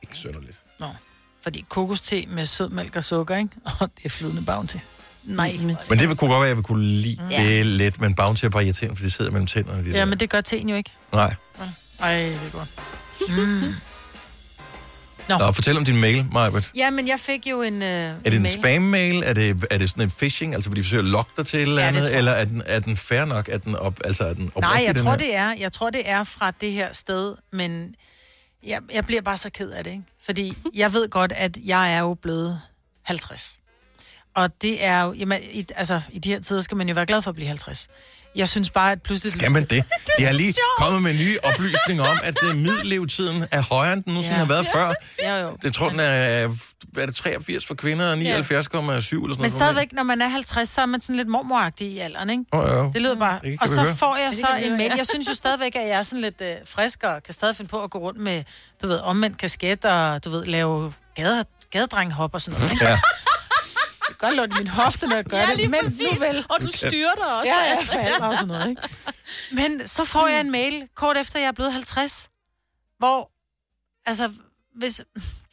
Speaker 1: Ikke sønderligt.
Speaker 3: Nå. Fordi kokoste med sød mælk og sukker, ikke? Og det er flydende bounty. Mm. Nej.
Speaker 1: Men det kunne godt være, at jeg ville kunne lide
Speaker 3: Mm.
Speaker 1: ja. det lidt, men bounty er bare irriterende, for det sidder mellem tænderne. Det
Speaker 3: Ja,
Speaker 1: der.
Speaker 3: men det gør teen jo ikke.
Speaker 1: Nej.
Speaker 3: Ej, det er godt. Mm. Nå.
Speaker 1: Nå, fortæl om din mail, Marbet.
Speaker 3: Ja, men jeg fik jo en øh, Er
Speaker 1: Er det en spam-mail? Er det, er det sådan en phishing, altså hvor de forsøger at lokke dig til et eller
Speaker 3: Ja, det
Speaker 1: andet?
Speaker 3: tror
Speaker 1: Ja,
Speaker 3: jeg.
Speaker 1: eller er den, er den fair nok? Er den, op, altså, er den
Speaker 3: Nej,
Speaker 1: oprigtig,
Speaker 3: jeg
Speaker 1: den
Speaker 3: tror,
Speaker 1: her?
Speaker 3: det er. Jeg tror, det er fra det her sted, men jeg, jeg bliver bare så ked af det, ikke? Fordi jeg ved godt, at jeg er jo blevet 50. Og det er jo, jamen, i, altså, i de her tider skal man jo være glad for at blive 50. Jeg synes bare, at pludselig...
Speaker 1: Skal man det? Jeg er lige kommet med nye oplysninger om, at øh, middellevetiden er højere, end den nogensinde
Speaker 3: Ja.
Speaker 1: har været før.
Speaker 3: Ja, jo.
Speaker 1: Det tror, den er, er det 83 for kvinder og 79,7 eller sådan noget.
Speaker 3: Men stadigvæk, når man er 50, så er man sådan lidt mormoragtig i alderen, ikke?
Speaker 1: Åh, ja.
Speaker 3: Det lyder bare.
Speaker 1: Det kan
Speaker 3: og
Speaker 1: vi
Speaker 3: så
Speaker 1: høre.
Speaker 3: får jeg
Speaker 2: Mm. det
Speaker 3: så
Speaker 2: kan vi
Speaker 3: en
Speaker 2: høre,
Speaker 3: mail.
Speaker 2: ja.
Speaker 3: Jeg synes jo stadigvæk, at jeg er sådan lidt øh, frisk og kan stadig finde på at gå rundt med, du ved, omvendt kasket og, du ved, lave gade, gadedrenghop og sådan noget. ikke?
Speaker 1: Ja.
Speaker 3: Det gør lidt min hofte, når jeg gør
Speaker 2: Ja,
Speaker 3: det.
Speaker 2: lige
Speaker 3: Men
Speaker 2: præcis.
Speaker 3: nu vel.
Speaker 2: Og du styrter også.
Speaker 3: Ja, jeg falder og sådan noget, ikke? Men så får jeg en mail kort efter, jeg er blevet 50, hvor, altså, hvis...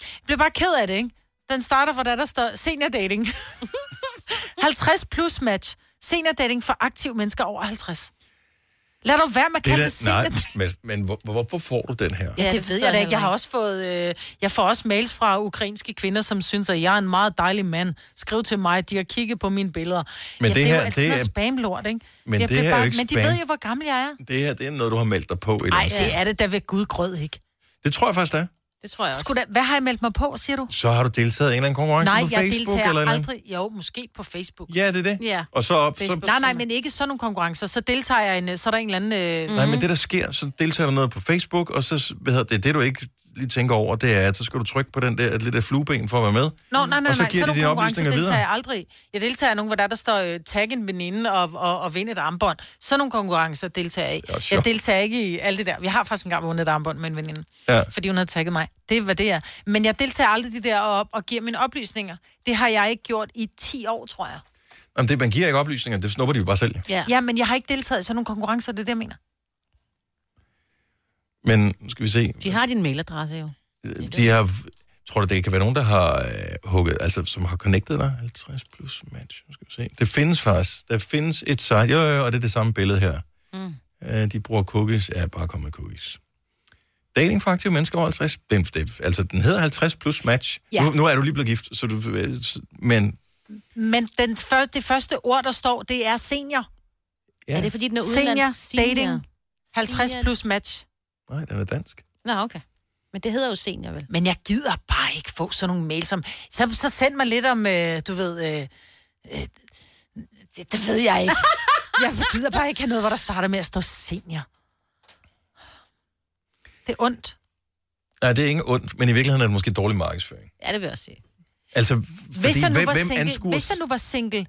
Speaker 3: Jeg bliver bare ked af det, ikke? Den starter fra der, der står senior dating. 50 plus match. Senior dating for aktive mennesker over 50 Lad dog være med at
Speaker 1: Det er
Speaker 3: kalde
Speaker 1: da,
Speaker 3: det senior
Speaker 1: nej, men, men hvor, hvorfor får du den her?
Speaker 3: Ja, det, det ved jeg da ikke. Jeg har også fået, øh, jeg får også mails fra ukrainske kvinder, som synes, at jeg er en meget dejlig mand. Skriv til mig, de har kigget på mine billeder.
Speaker 1: Men
Speaker 3: ja,
Speaker 1: det
Speaker 3: det,
Speaker 1: her,
Speaker 3: er jo altid
Speaker 1: det
Speaker 3: noget
Speaker 1: er-
Speaker 3: spamlort, ikke?
Speaker 1: Men
Speaker 3: Jeg
Speaker 1: det
Speaker 3: blev
Speaker 1: her er jo ikke
Speaker 3: men de
Speaker 1: spam.
Speaker 3: ved jo, hvor gammel jeg er.
Speaker 1: Det her, det er noget, du har meldt dig på. et Eller
Speaker 3: Nej,
Speaker 1: andet
Speaker 3: det
Speaker 1: sted.
Speaker 3: er det da ved Gud grød, ikke?
Speaker 1: Det tror jeg faktisk, det er.
Speaker 2: Det tror jeg også.
Speaker 3: Skulle da, hvad har jeg meldt mig på, siger du?
Speaker 1: Så har du deltaget i en eller anden konkurrence
Speaker 3: Nej,
Speaker 1: på
Speaker 3: jeg
Speaker 1: Facebook?
Speaker 3: deltager
Speaker 1: eller et eller andet?
Speaker 3: aldrig. Jo, måske på Facebook.
Speaker 1: Ja, det er det.
Speaker 3: Ja.
Speaker 1: Og så op, så,
Speaker 3: Facebook. Nej, nej, men ikke sådan nogle konkurrencer. Så deltager jeg i en, øh, så er der en eller anden... Øh...
Speaker 1: Nej, men det der sker, så deltager du noget på Facebook, og så hvad hedder det, det du ikke lige tænker over, det er, at så skal du trykke på den der et lille flueben for at være med.
Speaker 3: Nå, nej, nej,
Speaker 1: og så
Speaker 3: nej,
Speaker 1: giver de
Speaker 3: nogle
Speaker 1: dine
Speaker 3: konkurrencer
Speaker 1: oplysninger
Speaker 3: deltager
Speaker 1: videre.
Speaker 3: jeg aldrig. i. Jeg deltager i nogle, hvor der, der står øh, tag en veninde og, og, og vinde et armbånd. Sådan nogle konkurrencer deltager jeg i.
Speaker 1: Ja, så.
Speaker 3: Jeg deltager ikke i alt det der. Jeg har faktisk engang vundet et armbånd med en veninde,
Speaker 1: Ja.
Speaker 3: fordi hun havde tagget mig. Det er, hvad det er. Men jeg deltager aldrig i de der op og giver mine oplysninger. Det har jeg ikke gjort i 10 år, tror jeg.
Speaker 1: Jamen, det, man giver ikke oplysninger, det snupper de jo bare selv.
Speaker 3: Ja. ja, men jeg har ikke deltaget i sådan nogle konkurrencer, det er det, jeg mener.
Speaker 1: Men nu skal vi se,
Speaker 2: De har din mailadresse jo.
Speaker 1: de har... Tror du, det kan være nogen, der har øh, hugget, altså som har connectet dig? 50 plus match, nu skal vi se. Det findes faktisk. Der findes et site, jo, jo, jo, og det er det samme billede her.
Speaker 2: Mm.
Speaker 1: Øh, de bruger cookies. Ja, bare kom med cookies. Dating for aktive mennesker over 50. Den, det, altså, den hedder 50 plus match.
Speaker 3: Ja.
Speaker 1: Ja. Nu, nu, er du lige blevet gift, så du, øh, s- men
Speaker 3: Men den første, det første ord, der står, det er senior.
Speaker 1: Ja. Er det,
Speaker 2: fordi den
Speaker 1: er
Speaker 3: Senior,
Speaker 2: udenlandsk? Senior.
Speaker 3: dating, 50
Speaker 2: Senior.
Speaker 3: plus match.
Speaker 1: nej, den er dansk.
Speaker 2: Nå, okay. Men det hedder jo senior, vel?
Speaker 3: Men jeg gider bare ikke få sådan nogle mails som... Så, så send mig lidt om, øh, du ved... Øh, øh, det, det ved jeg ikke. Jeg gider bare ikke have noget, hvor der starter med at stå senior. Det er ondt.
Speaker 1: Nej, det er ikke ondt, men i virkeligheden er det måske dårlig markedsføring.
Speaker 2: Ja, det vil jeg også sige.
Speaker 1: Altså,
Speaker 3: Hvis,
Speaker 1: fordi,
Speaker 3: jeg, nu
Speaker 1: hvem,
Speaker 3: var
Speaker 1: hvem
Speaker 3: single,
Speaker 1: anskuer...
Speaker 3: hvis jeg nu var single...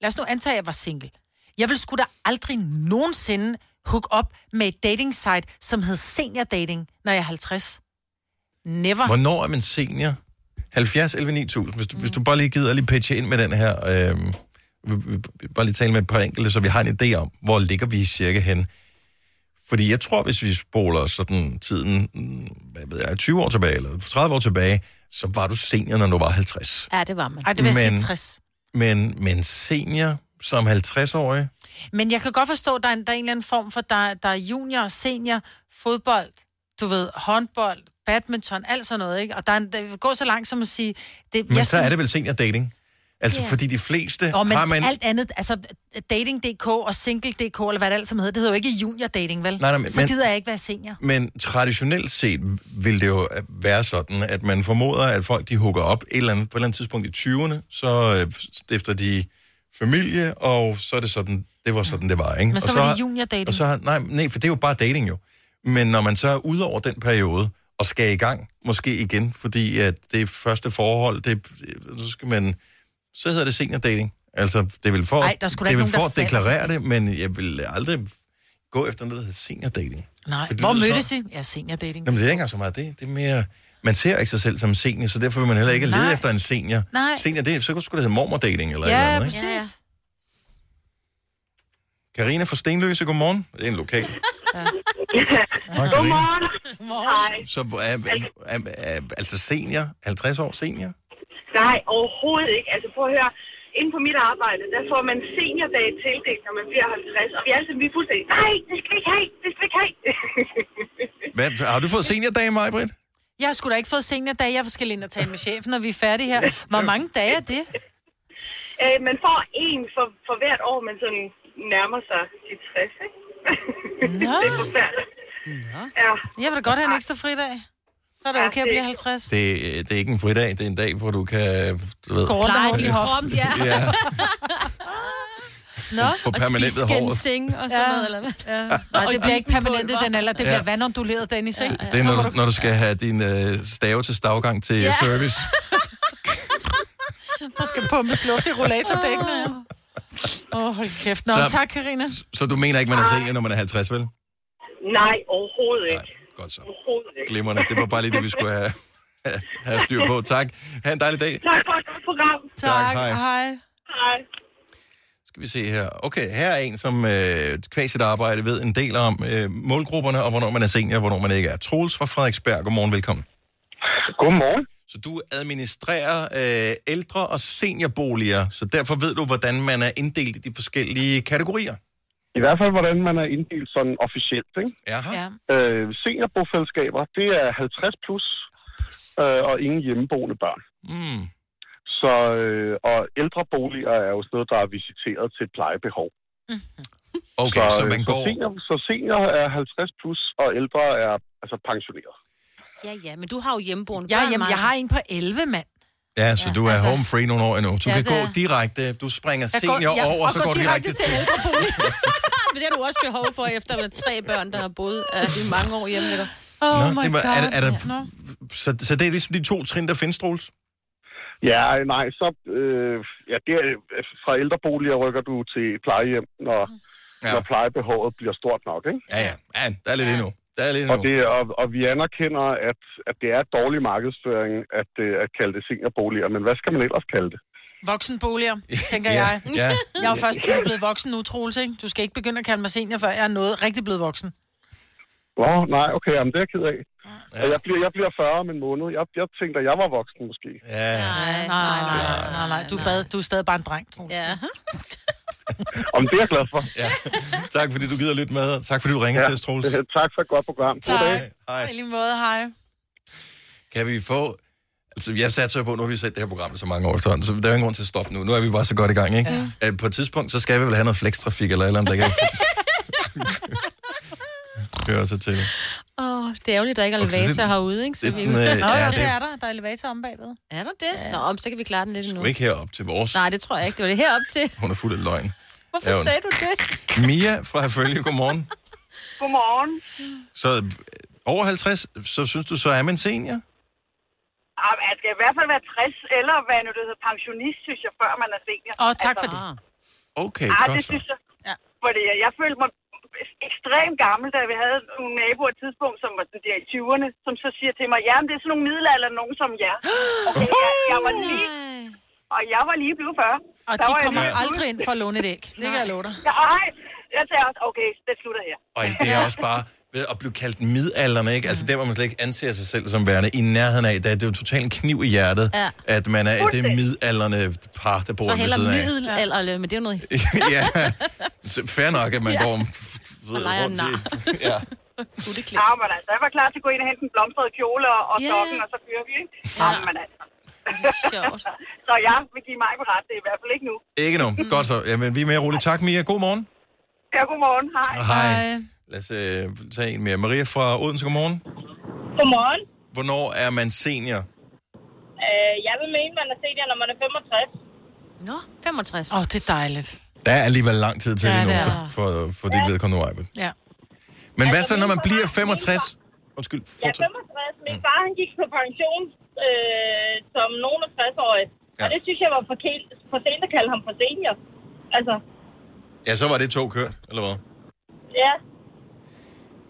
Speaker 3: Lad os nu antage, at jeg var single. Jeg ville sgu da aldrig nogensinde hook op med et dating site, som hed senior dating, når jeg er 50. Never.
Speaker 1: Hvornår er man senior? 70 11 9000, hvis du, mm. hvis du bare lige gider lige pitche ind med den her, øh, vi- vi- vi- bare lige tale med et par enkelte, så vi har en idé om, hvor ligger vi cirka hen. Fordi jeg tror, hvis vi spoler sådan tiden, mm, hvad ved jeg, 20 år tilbage, eller 30 år tilbage, så var du senior, når du var 50.
Speaker 2: Ja, det var man.
Speaker 3: Ej, det vil jeg
Speaker 1: Men-
Speaker 3: sige 60.
Speaker 1: Men, men senior som 50-årig,
Speaker 3: Men jeg kan godt forstå, at der er en, der er en eller anden form for, der, der er junior og senior, fodbold, du ved, håndbold, badminton, alt sådan noget, ikke? Og der, er en, der går så langt som at sige... Det,
Speaker 1: men så synes... er det vel senior dating? Altså,
Speaker 3: Ja.
Speaker 1: yeah. fordi de fleste
Speaker 3: Nå, men
Speaker 1: har man...
Speaker 3: alt andet, altså dating.dk og single.dk, eller hvad det alt sammen hedder, det hedder jo ikke junior dating, vel?
Speaker 1: Nej, nej, men-
Speaker 3: så
Speaker 1: men-
Speaker 3: gider jeg ikke være senior.
Speaker 1: Men traditionelt set vil det jo være sådan, at man formoder, at folk de hugger op et eller andet, på et eller andet tidspunkt i 20'erne, så øh, stifter de familie, og så er det sådan, det var sådan, det var, ikke?
Speaker 3: Men så
Speaker 1: og
Speaker 3: var det junior dating.
Speaker 1: Og så, har- nej, nej, for det er jo bare dating jo. Men når man så er ude over den periode, og skal i gang, måske igen, fordi at det første forhold, det, så skal man, så hedder det senior dating. Altså, det er vel for,
Speaker 3: Ej, der er sgu da
Speaker 1: det er
Speaker 3: ikke
Speaker 1: vel
Speaker 3: nogen,
Speaker 1: for
Speaker 3: der
Speaker 1: at
Speaker 3: falder for
Speaker 1: deklarere det, men jeg vil aldrig gå efter noget, der hedder senior dating.
Speaker 3: Nej,
Speaker 1: For det
Speaker 3: hvor
Speaker 1: lyder så-
Speaker 3: mødtes I? Ja, senior dating.
Speaker 1: Nå, men det er ikke engang så meget det. Det er mere... Man ser ikke sig selv som senior, så derfor vil man heller ikke lede
Speaker 3: Nej.
Speaker 1: efter en senior.
Speaker 3: Nej.
Speaker 1: Senior, det, er- så skulle det hedde mormordating eller et eller
Speaker 3: Ja,
Speaker 1: andet,
Speaker 3: præcis.
Speaker 1: ikke?
Speaker 3: Ja, ja.
Speaker 1: Karina fra Stenløse, godmorgen. Det er en lokal. Hej, Karina.
Speaker 11: Godmorgen. Hej.
Speaker 1: Så er, er, er, er, altså senior, 50 år senior?
Speaker 11: Nej, overhovedet ikke. Altså prøv at høre, inden på mit arbejde, der får man seniordag tildelt, når man bliver 50. Og vi er altid vi er fuldstændig, nej, det skal vi ikke have, det skal vi ikke have.
Speaker 1: Hvad, har du fået seniordag, Majbrit?
Speaker 3: Jeg har sgu da ikke fået seniordag. Jeg skal lige ind og tale med chefen, når vi er færdige her. Hvor mange dage er det?
Speaker 11: øh, man får en for, for hvert år, man sådan nærmer sig de 60, ikke?
Speaker 3: Nå.
Speaker 11: det er forfærdeligt. Ja.
Speaker 3: Jeg vil da godt have en ekstra fridag. Så er det
Speaker 11: Ja,
Speaker 3: okay at
Speaker 11: det-
Speaker 3: blive 50.
Speaker 1: Det, øh, det er ikke en fridag, det er en dag, hvor du kan... Du ved,
Speaker 3: Gå rundt og Pleje din hofte.
Speaker 2: Kroppen, ja.
Speaker 1: ja.
Speaker 3: Nå.
Speaker 1: Få permanentet
Speaker 2: og
Speaker 1: håret.
Speaker 2: seng og sådan ja. noget, eller hvad?
Speaker 3: Ja. Nej, det bliver ikke permanent i den alder. Det
Speaker 1: Ja.
Speaker 3: bliver vandonduleret, Dennis, ikke?
Speaker 1: Det er, når du, når du skal have din øh, stave til stavgang til
Speaker 3: Ja.
Speaker 1: ja. service.
Speaker 3: Der skal pumpes luft i rollatordækkene. ja. Åh, oh, hold kæft. Nå,
Speaker 1: Så-
Speaker 3: tak, Karina.
Speaker 1: Så du mener ikke, man er
Speaker 3: Ah.
Speaker 1: senior, når man er 50, vel?
Speaker 11: Nej, overhovedet ikke.
Speaker 1: Nej, godt så.
Speaker 11: Overhovedet ikke.
Speaker 1: Glimrende. Det var bare lige det, vi skulle have, have styr på. Tak. Ha' en dejlig dag.
Speaker 11: Tak for et godt program.
Speaker 1: Tak, hej.
Speaker 3: Hej.
Speaker 11: Hej.
Speaker 1: Skal vi se her. Okay, her er en, som øh, kvæg sit arbejde ved en del om øh, målgrupperne, og hvornår man er senior, og hvornår man ikke er. Troels fra Frederiksberg. Godmorgen, velkommen.
Speaker 20: Godmorgen.
Speaker 1: Så du administrerer øh, ældre- og seniorboliger, så derfor ved du, hvordan man er inddelt i de forskellige kategorier.
Speaker 20: I hvert fald, hvordan man er inddelt sådan officielt. Ikke?
Speaker 1: Jaha.
Speaker 3: Ja.
Speaker 20: Øh, seniorbofællesskaber, det er 50 plus, øh, og ingen hjemmeboende børn.
Speaker 1: Mm.
Speaker 20: Så, øh, og ældreboliger er jo sådan noget, der er visiteret til et plejebehov.
Speaker 1: Okay, så,
Speaker 20: øh,
Speaker 1: man går...
Speaker 20: Så senior, så senior er 50 plus, og ældre er altså pensioneret.
Speaker 2: Ja, ja, men du har jo hjemmeboende.
Speaker 3: Jeg,
Speaker 2: børn,
Speaker 3: jamen, jeg
Speaker 2: Maja.
Speaker 3: har en på 11, mand.
Speaker 1: Ja, så ja, du er altså... home free nogle år endnu. Du
Speaker 3: Ja,
Speaker 1: ja, kan
Speaker 3: det
Speaker 1: gå
Speaker 3: er-
Speaker 1: direkte, du springer
Speaker 2: Jeg
Speaker 1: senior
Speaker 2: går- ja,
Speaker 1: over, og så går direkte til...
Speaker 3: ældrebolig.
Speaker 2: men det har du også behov for, efter med tre børn, der har boet uh, i mange år hjemme med dig.
Speaker 1: Nå, my det må- er- God. er der- Så, så det er ligesom de to trin, der findes, Troels?
Speaker 20: Ja, nej, så øh, ja, det er, øh, fra ældreboliger rykker du til plejehjem, når, ja. når plejebehovet bliver stort nok. Ikke?
Speaker 1: Ja, ja. ja der er lidt ja. endnu. Der er lidt
Speaker 20: og,
Speaker 1: endnu.
Speaker 20: det, og, og vi anerkender, at, at det er dårlig markedsføring at, øh, at kalde det seniorboliger, men hvad skal man ellers kalde det?
Speaker 3: Voksenboliger, tænker
Speaker 20: Ja,
Speaker 3: jeg.
Speaker 20: ja.
Speaker 3: Jeg er jo først blevet voksen nu, Troels, ikke? Du skal ikke begynde at kalde mig senior, før jeg er noget rigtig blevet voksen.
Speaker 20: Nå, nej, okay, jamen, det er jeg ked af. Ja. Jeg, bliver, jeg bliver 40 om en måned. Jeg, jeg tænkte, at jeg var voksen måske.
Speaker 1: Ja.
Speaker 3: Nej, Ah, nej, nej, nej, nej. Du, bad, du er stadig bare en dreng, Troels. Ja.
Speaker 20: Om det er jeg glad for.
Speaker 1: Ja. tak fordi du gider lytte med. Tak fordi du ringer ja. til os, Troels.
Speaker 20: Tak for et godt program.
Speaker 3: Tak.
Speaker 1: Hej.
Speaker 3: I lige måde, hej.
Speaker 1: Kan vi få... Altså, jeg satser jo på, nu har vi set det her program i så mange år efterhånden, så der er jo ingen grund til at stoppe nu. Nu er vi bare så godt i gang, ikke? Ja. Øh, På et tidspunkt, så skal vi vel have noget flextrafik eller et eller andet, der kan køre sig til.
Speaker 2: Åh, oh, det er ærgerligt, der ikke er
Speaker 1: Okay, så det-
Speaker 2: elevator herude, ikke? Så
Speaker 1: det-
Speaker 2: vi...
Speaker 1: den, øh,
Speaker 3: Nå,
Speaker 1: ja,
Speaker 3: jo,
Speaker 1: det-
Speaker 3: det er der. Der er elevator om bagved.
Speaker 2: Er der det? Ja. Nå, om, så kan vi klare den lidt endnu.
Speaker 1: Du er ikke herop til vores.
Speaker 2: Nej, det tror jeg ikke. Det var det herop til.
Speaker 1: Hun er fuld af løgn.
Speaker 2: Hvorfor
Speaker 1: Ærgerligt.
Speaker 2: sagde du det?
Speaker 1: Mia fra Herfølge, godmorgen.
Speaker 11: Godmorgen.
Speaker 1: Så øh, over 50, så synes du, så er man senior?
Speaker 11: Ah, Man skal i hvert fald være 60, eller hvad nu det hedder, pensionist, synes jeg, før man er senior. Altså,
Speaker 3: Åh, tak for det.
Speaker 1: Okay,
Speaker 11: Ah,
Speaker 1: godt
Speaker 11: det
Speaker 1: så.
Speaker 11: synes jeg. Ja. Fordi jeg, jeg følte mig ekstremt gammel, da vi havde nogle naboer et tidspunkt, som var sådan der i 20'erne, som så siger til mig, ja, men det er sådan nogle middelalder, nogen som jer. Okay, jeg, jeg var lige... Og jeg var lige blevet 40.
Speaker 3: Og
Speaker 11: Der
Speaker 3: de
Speaker 11: var jeg
Speaker 3: kommer
Speaker 11: lige-
Speaker 3: aldrig ind for at låne et æg. Det kan jeg love dig.
Speaker 11: Nej, jeg tager også, okay, det slutter her.
Speaker 1: Og det er også bare ved at blive kaldt midalderne, ikke? Altså der, hvor man slet ikke anser sig selv som værende i nærheden af, der er det jo totalt en kniv i hjertet,
Speaker 2: Ja.
Speaker 1: at man er det
Speaker 2: Fuldstændig.
Speaker 1: midalderne par, der bor
Speaker 2: Så
Speaker 1: ved
Speaker 2: heller
Speaker 1: siden af.
Speaker 2: middelalder, men det er jo noget...
Speaker 1: ja, Så fair nok, at man
Speaker 2: Ja.
Speaker 1: går om-
Speaker 11: Og
Speaker 1: ved,
Speaker 11: leger
Speaker 1: rundt
Speaker 11: nar.
Speaker 1: i... Ja.
Speaker 11: Ja, men altså, jeg var klar til at gå ind og hente en blomstret kjole og- og sokken, og så kører vi, ikke? Ja. Jamen, altså. så jeg vil give mig på ret, det er i hvert fald ikke nu.
Speaker 1: Ikke nu. Godt så. Jamen, vi er mere roligt. Tak, Mia. God morgen.
Speaker 11: Ja, godmorgen. Hej.
Speaker 1: Hej. Lad os øh, tage en mere. Maria fra Odense, godmorgen.
Speaker 21: Godmorgen.
Speaker 1: Hvornår er man senior?
Speaker 21: Øh, jeg vil mene, man er senior, når man er 65. Nå, 65.
Speaker 2: Ah.
Speaker 3: Åh, oh, det er dejligt.
Speaker 1: Der er alligevel lang tid til
Speaker 3: Ja,
Speaker 1: ja, endnu,
Speaker 3: det er
Speaker 1: for, for, for dit vedkommende, Ejbel.
Speaker 3: Ja.
Speaker 1: Men hvad
Speaker 21: Altså,
Speaker 1: så, når man
Speaker 21: min
Speaker 1: bliver
Speaker 21: forretning-
Speaker 1: 65? Undskyld,
Speaker 21: Jeg
Speaker 1: fortsæt.
Speaker 21: er 65. Min far, han gik på pension øh, som nogen af 60-årig. Og det synes jeg var for, kæl- for sent at kalde ham for senior. Altså,
Speaker 1: Ja, så var det to kørt, eller hvad?
Speaker 21: ja.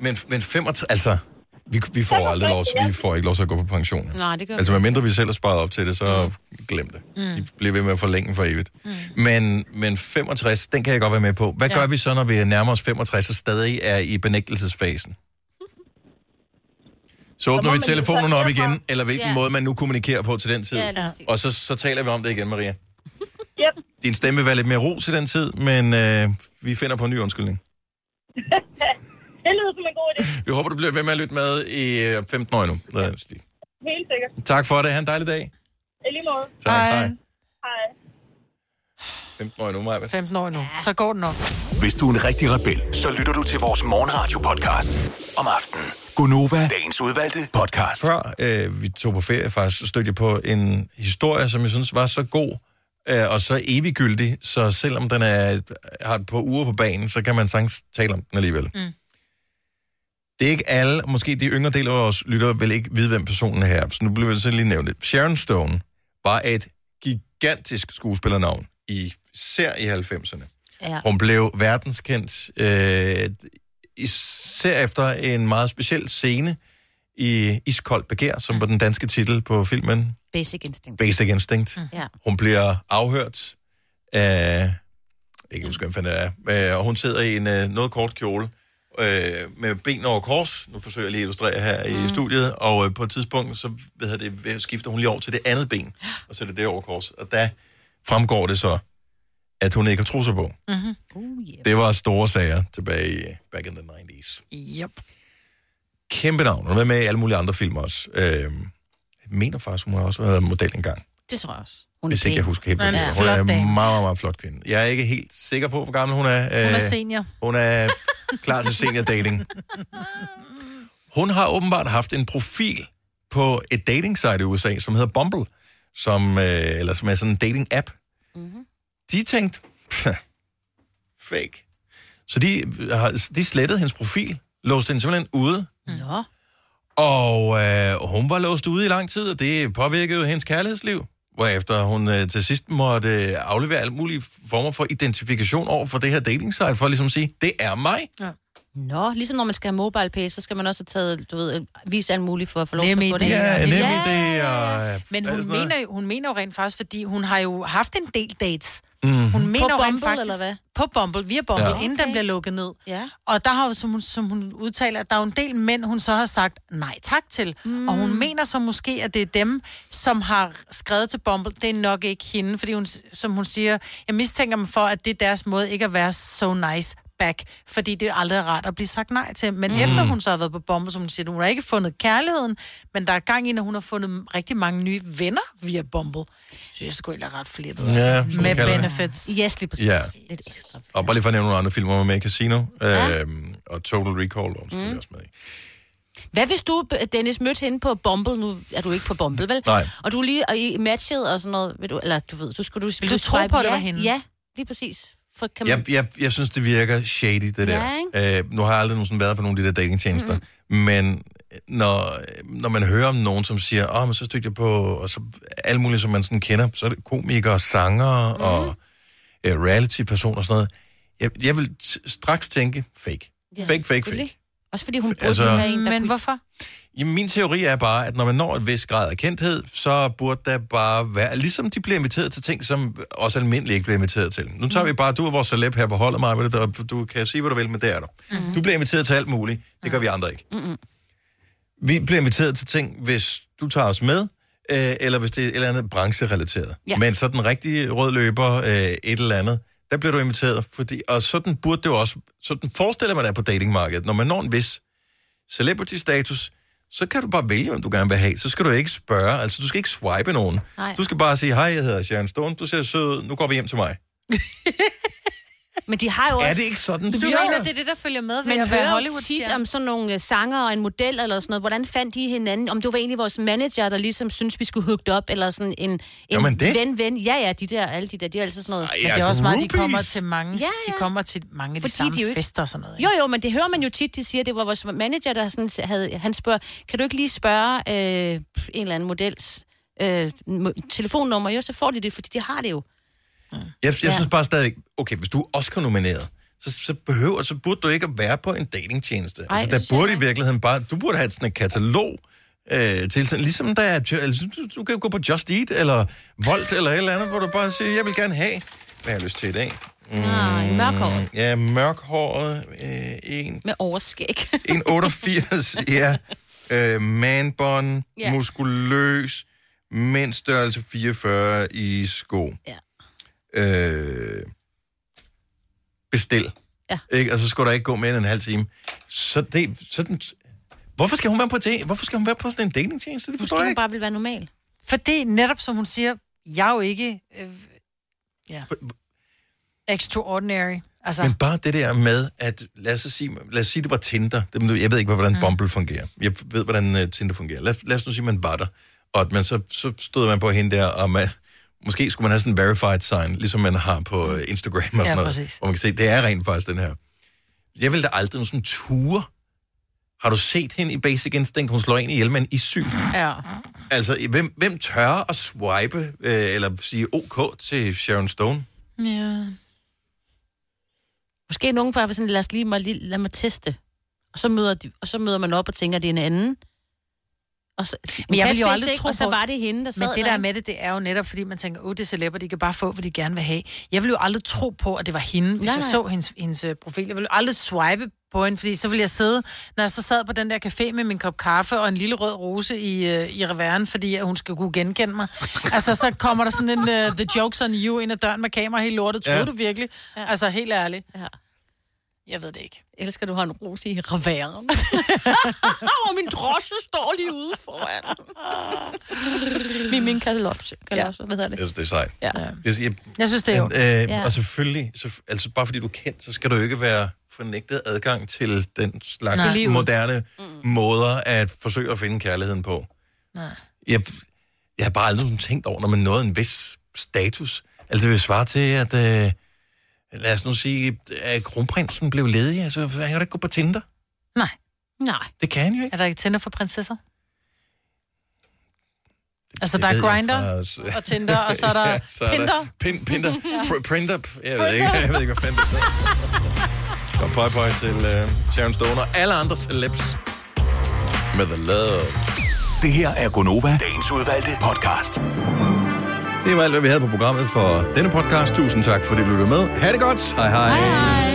Speaker 1: Men, men 65, altså, vi, vi får aldrig lov, vi får ikke lov til at gå på pension.
Speaker 2: Nej, det gør
Speaker 1: Altså, medmindre vi selv har sparet op til det, så glem det. De bliver ved med at forlænge for evigt. Men, men 65, den kan jeg godt være med på. Hvad
Speaker 21: Ja.
Speaker 1: gør vi så, når vi nærmer os 65 og stadig er i benægtelsesfasen? Så åbner vi telefonerne op igen, eller hvilken
Speaker 21: Ja.
Speaker 1: måde man nu kommunikerer på til den tid.
Speaker 21: Ja, lige præcis.
Speaker 1: og så, så taler vi om det igen, Maria.
Speaker 21: Yep.
Speaker 1: Din stemme vil være lidt mere ro til den tid, men øh, vi finder på en ny undskyldning.
Speaker 21: det lyder som en god idé.
Speaker 1: Vi håber, du bliver ved med at lytte med i øh, 15 år endnu. Ja.
Speaker 21: Helt sikkert.
Speaker 1: Tak for det. Ha' en dejlig dag.
Speaker 21: I lige måde.
Speaker 1: Tak. Hej.
Speaker 21: Hej.
Speaker 1: 15 år endnu, Maja.
Speaker 3: 15 år nu. Så går den nok.
Speaker 15: Hvis du er en rigtig rebel, så lytter du til vores morgenradio-podcast om aftenen. Gunova, dagens udvalgte podcast.
Speaker 1: Før øh, vi tog på ferie, faktisk, så stødte jeg på en historie, som jeg synes var så god øh, og så eviggyldig, så selvom den er, har et par uger på banen, så kan man sagtens tale om den alligevel. Mm. Det er ikke alle, og måske de yngre del af os lyttere vil ikke vide, hvem personen er her, så nu bliver jeg så lige nævnt det. Sharon Stone var et gigantisk skuespillernavn, i, især i 90'erne.
Speaker 2: Ja.
Speaker 1: Hun blev verdenskendt, øh, især efter en meget speciel scene i Iskoldt Begær, som var den danske titel på filmen
Speaker 2: Basic instinct.
Speaker 1: Basic Instinct.
Speaker 2: Ja.
Speaker 1: Hun bliver afhørt af... Jeg kan ikke huske, hvem fanden det er. Øh, Og hun sidder i en øh, noget kort kjole øh, med ben over kors. Nu forsøger jeg lige at illustrere her
Speaker 3: Mm.
Speaker 1: i studiet. Og øh, på et tidspunkt, så ved jeg, det, øh, skifter hun lige over til det andet ben. Og så er det det over kors. Og der fremgår det så, at hun ikke har trusser på.
Speaker 3: Mm-hmm.
Speaker 1: Det var store sager tilbage i back in the 90s.
Speaker 3: Yep.
Speaker 1: Kæmpe navn. Hun har været med i alle mulige andre film også. Øh, jeg mener faktisk, hun har også været model engang.
Speaker 2: Det tror jeg også.
Speaker 1: Hun Hvis ikke jeg husker helt,
Speaker 2: Hun er
Speaker 1: hvad
Speaker 2: en
Speaker 1: hun er
Speaker 2: flot
Speaker 1: en meget,
Speaker 2: dame.
Speaker 1: meget, meget flot kvinde. Jeg er ikke helt sikker på, hvor gammel hun er.
Speaker 3: Hun er
Speaker 1: Øh,
Speaker 3: senior.
Speaker 1: Hun er klar til senior dating. Hun har åbenbart haft en profil på et dating site i USA, som hedder Bumble, som, øh, eller som er sådan en dating app. Mm-hmm.
Speaker 2: Mhm.
Speaker 1: De tænkte, "Pff, fake. Så de, har- de slettede hendes profil, låste hende simpelthen ude,
Speaker 2: Nå.
Speaker 1: og øh, hun var låst ude i lang tid, og det påvirkede jo hendes kærlighedsliv. Hvorefter hun øh, til sidst måtte øh, aflevere alle mulige former for identifikation over for det her dating site, for at ligesom at sige, det er mig.
Speaker 3: Ja.
Speaker 2: Nå, ligesom når man skal have mobile pay, så skal man også have taget, du ved, vise alt muligt for at få lov til at få
Speaker 3: NemID.
Speaker 2: det.
Speaker 1: Ja,
Speaker 3: Ja.
Speaker 1: nemlig det. Og, øh,
Speaker 3: Men
Speaker 1: alt
Speaker 3: hun
Speaker 1: sådan noget.
Speaker 3: mener, jo, hun mener jo rent faktisk, fordi hun har jo haft en del dates.
Speaker 1: Mhm.
Speaker 3: Hun mener jo
Speaker 2: På
Speaker 3: rent
Speaker 2: Bumble,
Speaker 3: faktisk,
Speaker 2: eller hvad?
Speaker 3: På Bumble, via Bumble,
Speaker 1: Ja.
Speaker 3: ja. inden den bliver lukket ned. Ja. Og der har jo, som hun, som hun udtaler, at der er jo en del mænd, hun så har sagt nej tak til. Mm. Og hun mener så måske, at det er dem, som har skrevet til Bumble, det er nok ikke hende, fordi hun, som hun siger, jeg mistænker dem for, at det er deres måde ikke at være so nice back, fordi det er aldrig rart at blive sagt nej til. Men
Speaker 1: Mm.
Speaker 3: mm. efter hun så har været på Bumble, som hun siger, hun har ikke fundet kærligheden, men der er gang i, at hun har fundet rigtig mange nye venner via Bumble. Så jeg skulle egentlig ret flippet.
Speaker 1: Ja,
Speaker 3: altså.
Speaker 1: som
Speaker 3: Med
Speaker 1: man kalder det.
Speaker 3: benefits.
Speaker 2: Yes, lige
Speaker 1: præcis. Ja.
Speaker 2: Lidt ekstra.
Speaker 1: Og bare lige for at nævne nogle andre film, hvor man er med i Casino, ja. øhm, og Total Recall, og mm. også med i.
Speaker 2: Hvad hvis du, øh, Dennis, mødte hende på Bumble? Nu er du ikke på Bumble, vel?
Speaker 1: Nej.
Speaker 2: Og du lige og I matchet og sådan noget. Ved du, eller du ved, så skulle du...
Speaker 3: Vil du tro
Speaker 2: swipe
Speaker 3: på, at det
Speaker 2: ja,
Speaker 3: var hende?
Speaker 2: Ja, lige præcis. For kan man...
Speaker 1: Jeg, jeg, jeg synes, det virker shady, det der.
Speaker 2: Ja, Mhm.
Speaker 1: Ja, øh, nu har jeg aldrig nogensinde været på nogle af de der datingtjenester, mm. men når, øh, når man hører om nogen, som siger, åh, oh, men så stødte jeg på, og så alt muligt, som man sådan kender, så er det komikere, sanger
Speaker 2: Mhm.
Speaker 1: mm. og øh, reality-personer og sådan noget. Jeg, jeg vil t- straks tænke, fake. Ja, fake, fake, fake.
Speaker 2: Også fordi hun burde
Speaker 1: Altså-
Speaker 2: altså... være en, der
Speaker 3: Men
Speaker 2: kunne...
Speaker 3: hvorfor?
Speaker 1: Jamen, min teori er bare, at når man når et vis grad af kendthed, så burde der bare være... Ligesom de bliver inviteret til ting, som også almindeligt ikke bliver inviteret til. Nu
Speaker 2: Mm.
Speaker 1: tager vi bare... Du er vores celeb her på holdet, Maja, og du kan sige, hvad du vil, men det er du. Du bliver inviteret til alt muligt. Det gør vi andre ikke.
Speaker 2: Mm-hmm. Mm-mm.
Speaker 1: Vi bliver inviteret til ting, hvis du tager os med, øh, eller hvis det er et eller andet brancherelateret.
Speaker 2: Ja.
Speaker 1: Men så den rigtige rød løber, øh, et eller andet, der bliver du inviteret. Fordi, og sådan burde det jo også... Sådan forestiller man dig på datingmarkedet. Når man når en vis celebrity-status, så kan du bare vælge, hvem du gerne vil have. Så skal du ikke spørge, altså du skal ikke swipe nogen.
Speaker 2: Nej.
Speaker 1: Du skal bare sige, hej, jeg hedder Sharon Stone, du ser sød, ud. nu går vi hjem til mig.
Speaker 2: Men de har jo også...
Speaker 1: Er det ikke sådan, det
Speaker 2: Du
Speaker 1: virker?
Speaker 2: mener,
Speaker 3: Det er det, der følger med ved
Speaker 2: Men
Speaker 3: at være
Speaker 2: hører jo tit
Speaker 3: Hollywood-stjerne.
Speaker 2: om sådan nogle øh, sanger og en model eller sådan noget. Hvordan fandt de hinanden? Om det var egentlig vores manager, der ligesom synes vi skulle hooked op, eller sådan en,
Speaker 1: Gør man
Speaker 2: en
Speaker 1: det?
Speaker 2: ven-ven. Ja, ja, de der, alle de der, de er altid sådan noget.
Speaker 3: Men det er også meget, de kommer til mange, ja, ja. de kommer til mange af de
Speaker 2: Fordi
Speaker 3: samme
Speaker 2: de jo ikke-
Speaker 3: fester og sådan noget.
Speaker 2: Jo, jo, men det hører man jo tit, de siger, det var vores manager, der sådan havde, han spørger, kan du ikke lige spørge øh, en eller anden models øh, mo- telefonnummer? Jo, så får de det, fordi de har det jo.
Speaker 1: Jeg, jeg
Speaker 2: Ja.
Speaker 1: synes bare stadigvæk, okay, hvis du er Oscar-nomineret, så, så, behøver, så burde du ikke at være på en datingtjeneste.
Speaker 2: Ej,
Speaker 1: Ej, altså,
Speaker 2: det
Speaker 1: der burde i virkeligheden bare, du burde have sådan et katalog øh, til sådan, ligesom der er, altså, du, du kan jo gå på Just Eat, eller Volt, eller et eller andet, hvor du bare siger, jeg vil gerne have, hvad jeg har lyst til i dag. Mm,
Speaker 2: Ah, mørkhåret.
Speaker 1: Ja, mørkhåret, øh, en,
Speaker 2: Med overskæg.
Speaker 1: en 88, ja, øh, manbånd,
Speaker 2: Ja.
Speaker 1: yeah. muskuløs, mindst størrelse 44 i sko.
Speaker 2: Ja.
Speaker 1: øh, bestil.
Speaker 2: Ja.
Speaker 1: Ikke? Og så skulle der ikke gå mere end en halv time. Så det, sådan, hvorfor skal hun være på det? Hvorfor skal hun være på sådan en datingtjeneste? Det forstår jeg
Speaker 2: hun
Speaker 1: ikke.
Speaker 2: bare vil være normal.
Speaker 3: Fordi netop som hun siger, jeg er jo ikke øh, ja, extraordinary. Altså,
Speaker 1: Men bare det der med, at lad os, så sige, lad os sige, det var Tinder. Det- men du- Jeg ved ikke, hvordan mm. Bumble fungerer. Jeg ved, hvordan øh, Tinder fungerer. Lad, lad os nu sige, man var der. Og at man så, så stod man på hende der, og man, måske skulle man have sådan en verified sign, ligesom man har på øh, Instagram og sådan
Speaker 3: Ja,
Speaker 1: noget.
Speaker 3: præcis.
Speaker 1: Hvor man kan se, det er rent faktisk den her. Jeg ville da aldrig nogen sådan ture. Har du set hende i Basic Instinct? Hun slår en ihjel med en isyg.
Speaker 3: ja.
Speaker 1: Altså, hvem, hvem tør at swipe, øh, eller sige OK til Sharon Stone?
Speaker 3: ja.
Speaker 2: Måske nogen fra sådan, lad os lige mig, lige, lad mig teste. Og så, møder de, og så møder man op og tænker, at det er en anden. Og så,
Speaker 3: Men jeg vil jo
Speaker 2: catfish,
Speaker 3: aldrig
Speaker 2: ikke?
Speaker 3: tro
Speaker 2: Og så
Speaker 3: på-
Speaker 2: var det hende, der sad
Speaker 3: Men det der er
Speaker 2: derinde.
Speaker 3: med det, det er jo netop, fordi man tænker, åh, oh, det er celebber, de kan bare få, hvad de gerne vil have. Jeg ville jo aldrig tro på, at det var hende, hvis
Speaker 2: Nej,
Speaker 3: jeg
Speaker 2: nej.
Speaker 3: så hendes, hendes øh, profil. Jeg ville jo aldrig swipe på hende, fordi så ville jeg sidde, når jeg så sad på den der café med min kop kaffe og en lille rød rose i, øh, i reveren, fordi at hun skal kunne genkende mig. Altså, så kommer der sådan en uh, The Jokes on You ind ad døren med kamera helt lortet. Troede
Speaker 2: Ja.
Speaker 3: du virkelig? Altså, helt ærligt. Jeg ved det ikke.
Speaker 2: Elsker du har en rose i reværen. og min drosse står lige ude foran. min min kalotse. Ja. Hvad hedder det?
Speaker 1: Altså, det er sejt.
Speaker 2: Ja.
Speaker 1: Det, jeg,
Speaker 3: Jeg synes, det er
Speaker 1: men,
Speaker 3: jo-
Speaker 1: Øh,
Speaker 3: Ja.
Speaker 1: Og selvfølgelig, så, altså bare fordi du er kendt, så skal du jo ikke være fornægtet adgang til den slags
Speaker 3: Nej. Til
Speaker 1: Nej.
Speaker 3: livet.
Speaker 1: moderne mm. måder at forsøge at finde kærligheden på.
Speaker 3: Nej.
Speaker 1: Jeg, jeg har bare aldrig sådan tænkt over, når man nåede en vis status. Altså, det vil svare til, at... Øh, lad os nu sige, at kronprinsen blev ledig. Altså, han kan da ikke gå på Tinder.
Speaker 3: Nej.
Speaker 2: Nej.
Speaker 1: Det kan han jo ikke.
Speaker 3: Er der ikke Tinder for prinsesser? Altså, der
Speaker 1: Det
Speaker 3: er
Speaker 1: ved jeg
Speaker 3: Grindr
Speaker 1: fra-
Speaker 3: og Tinder, og så er der
Speaker 1: ja, så er
Speaker 3: Pinder.
Speaker 1: Der pin, pinder. Pr- printer. Jeg ved ikke, jeg ved ikke hvad fanden det hedder. Og pøj, pøj til uh, Sharon Stone og alle andre celebs. Med the love.
Speaker 15: Det her er Gonova, dagens udvalgte podcast.
Speaker 1: Det var alt, hvad vi havde på programmet for denne podcast. Tusind tak, fordi du lyttede med. Ha' det godt. Hej hej. hej, hej.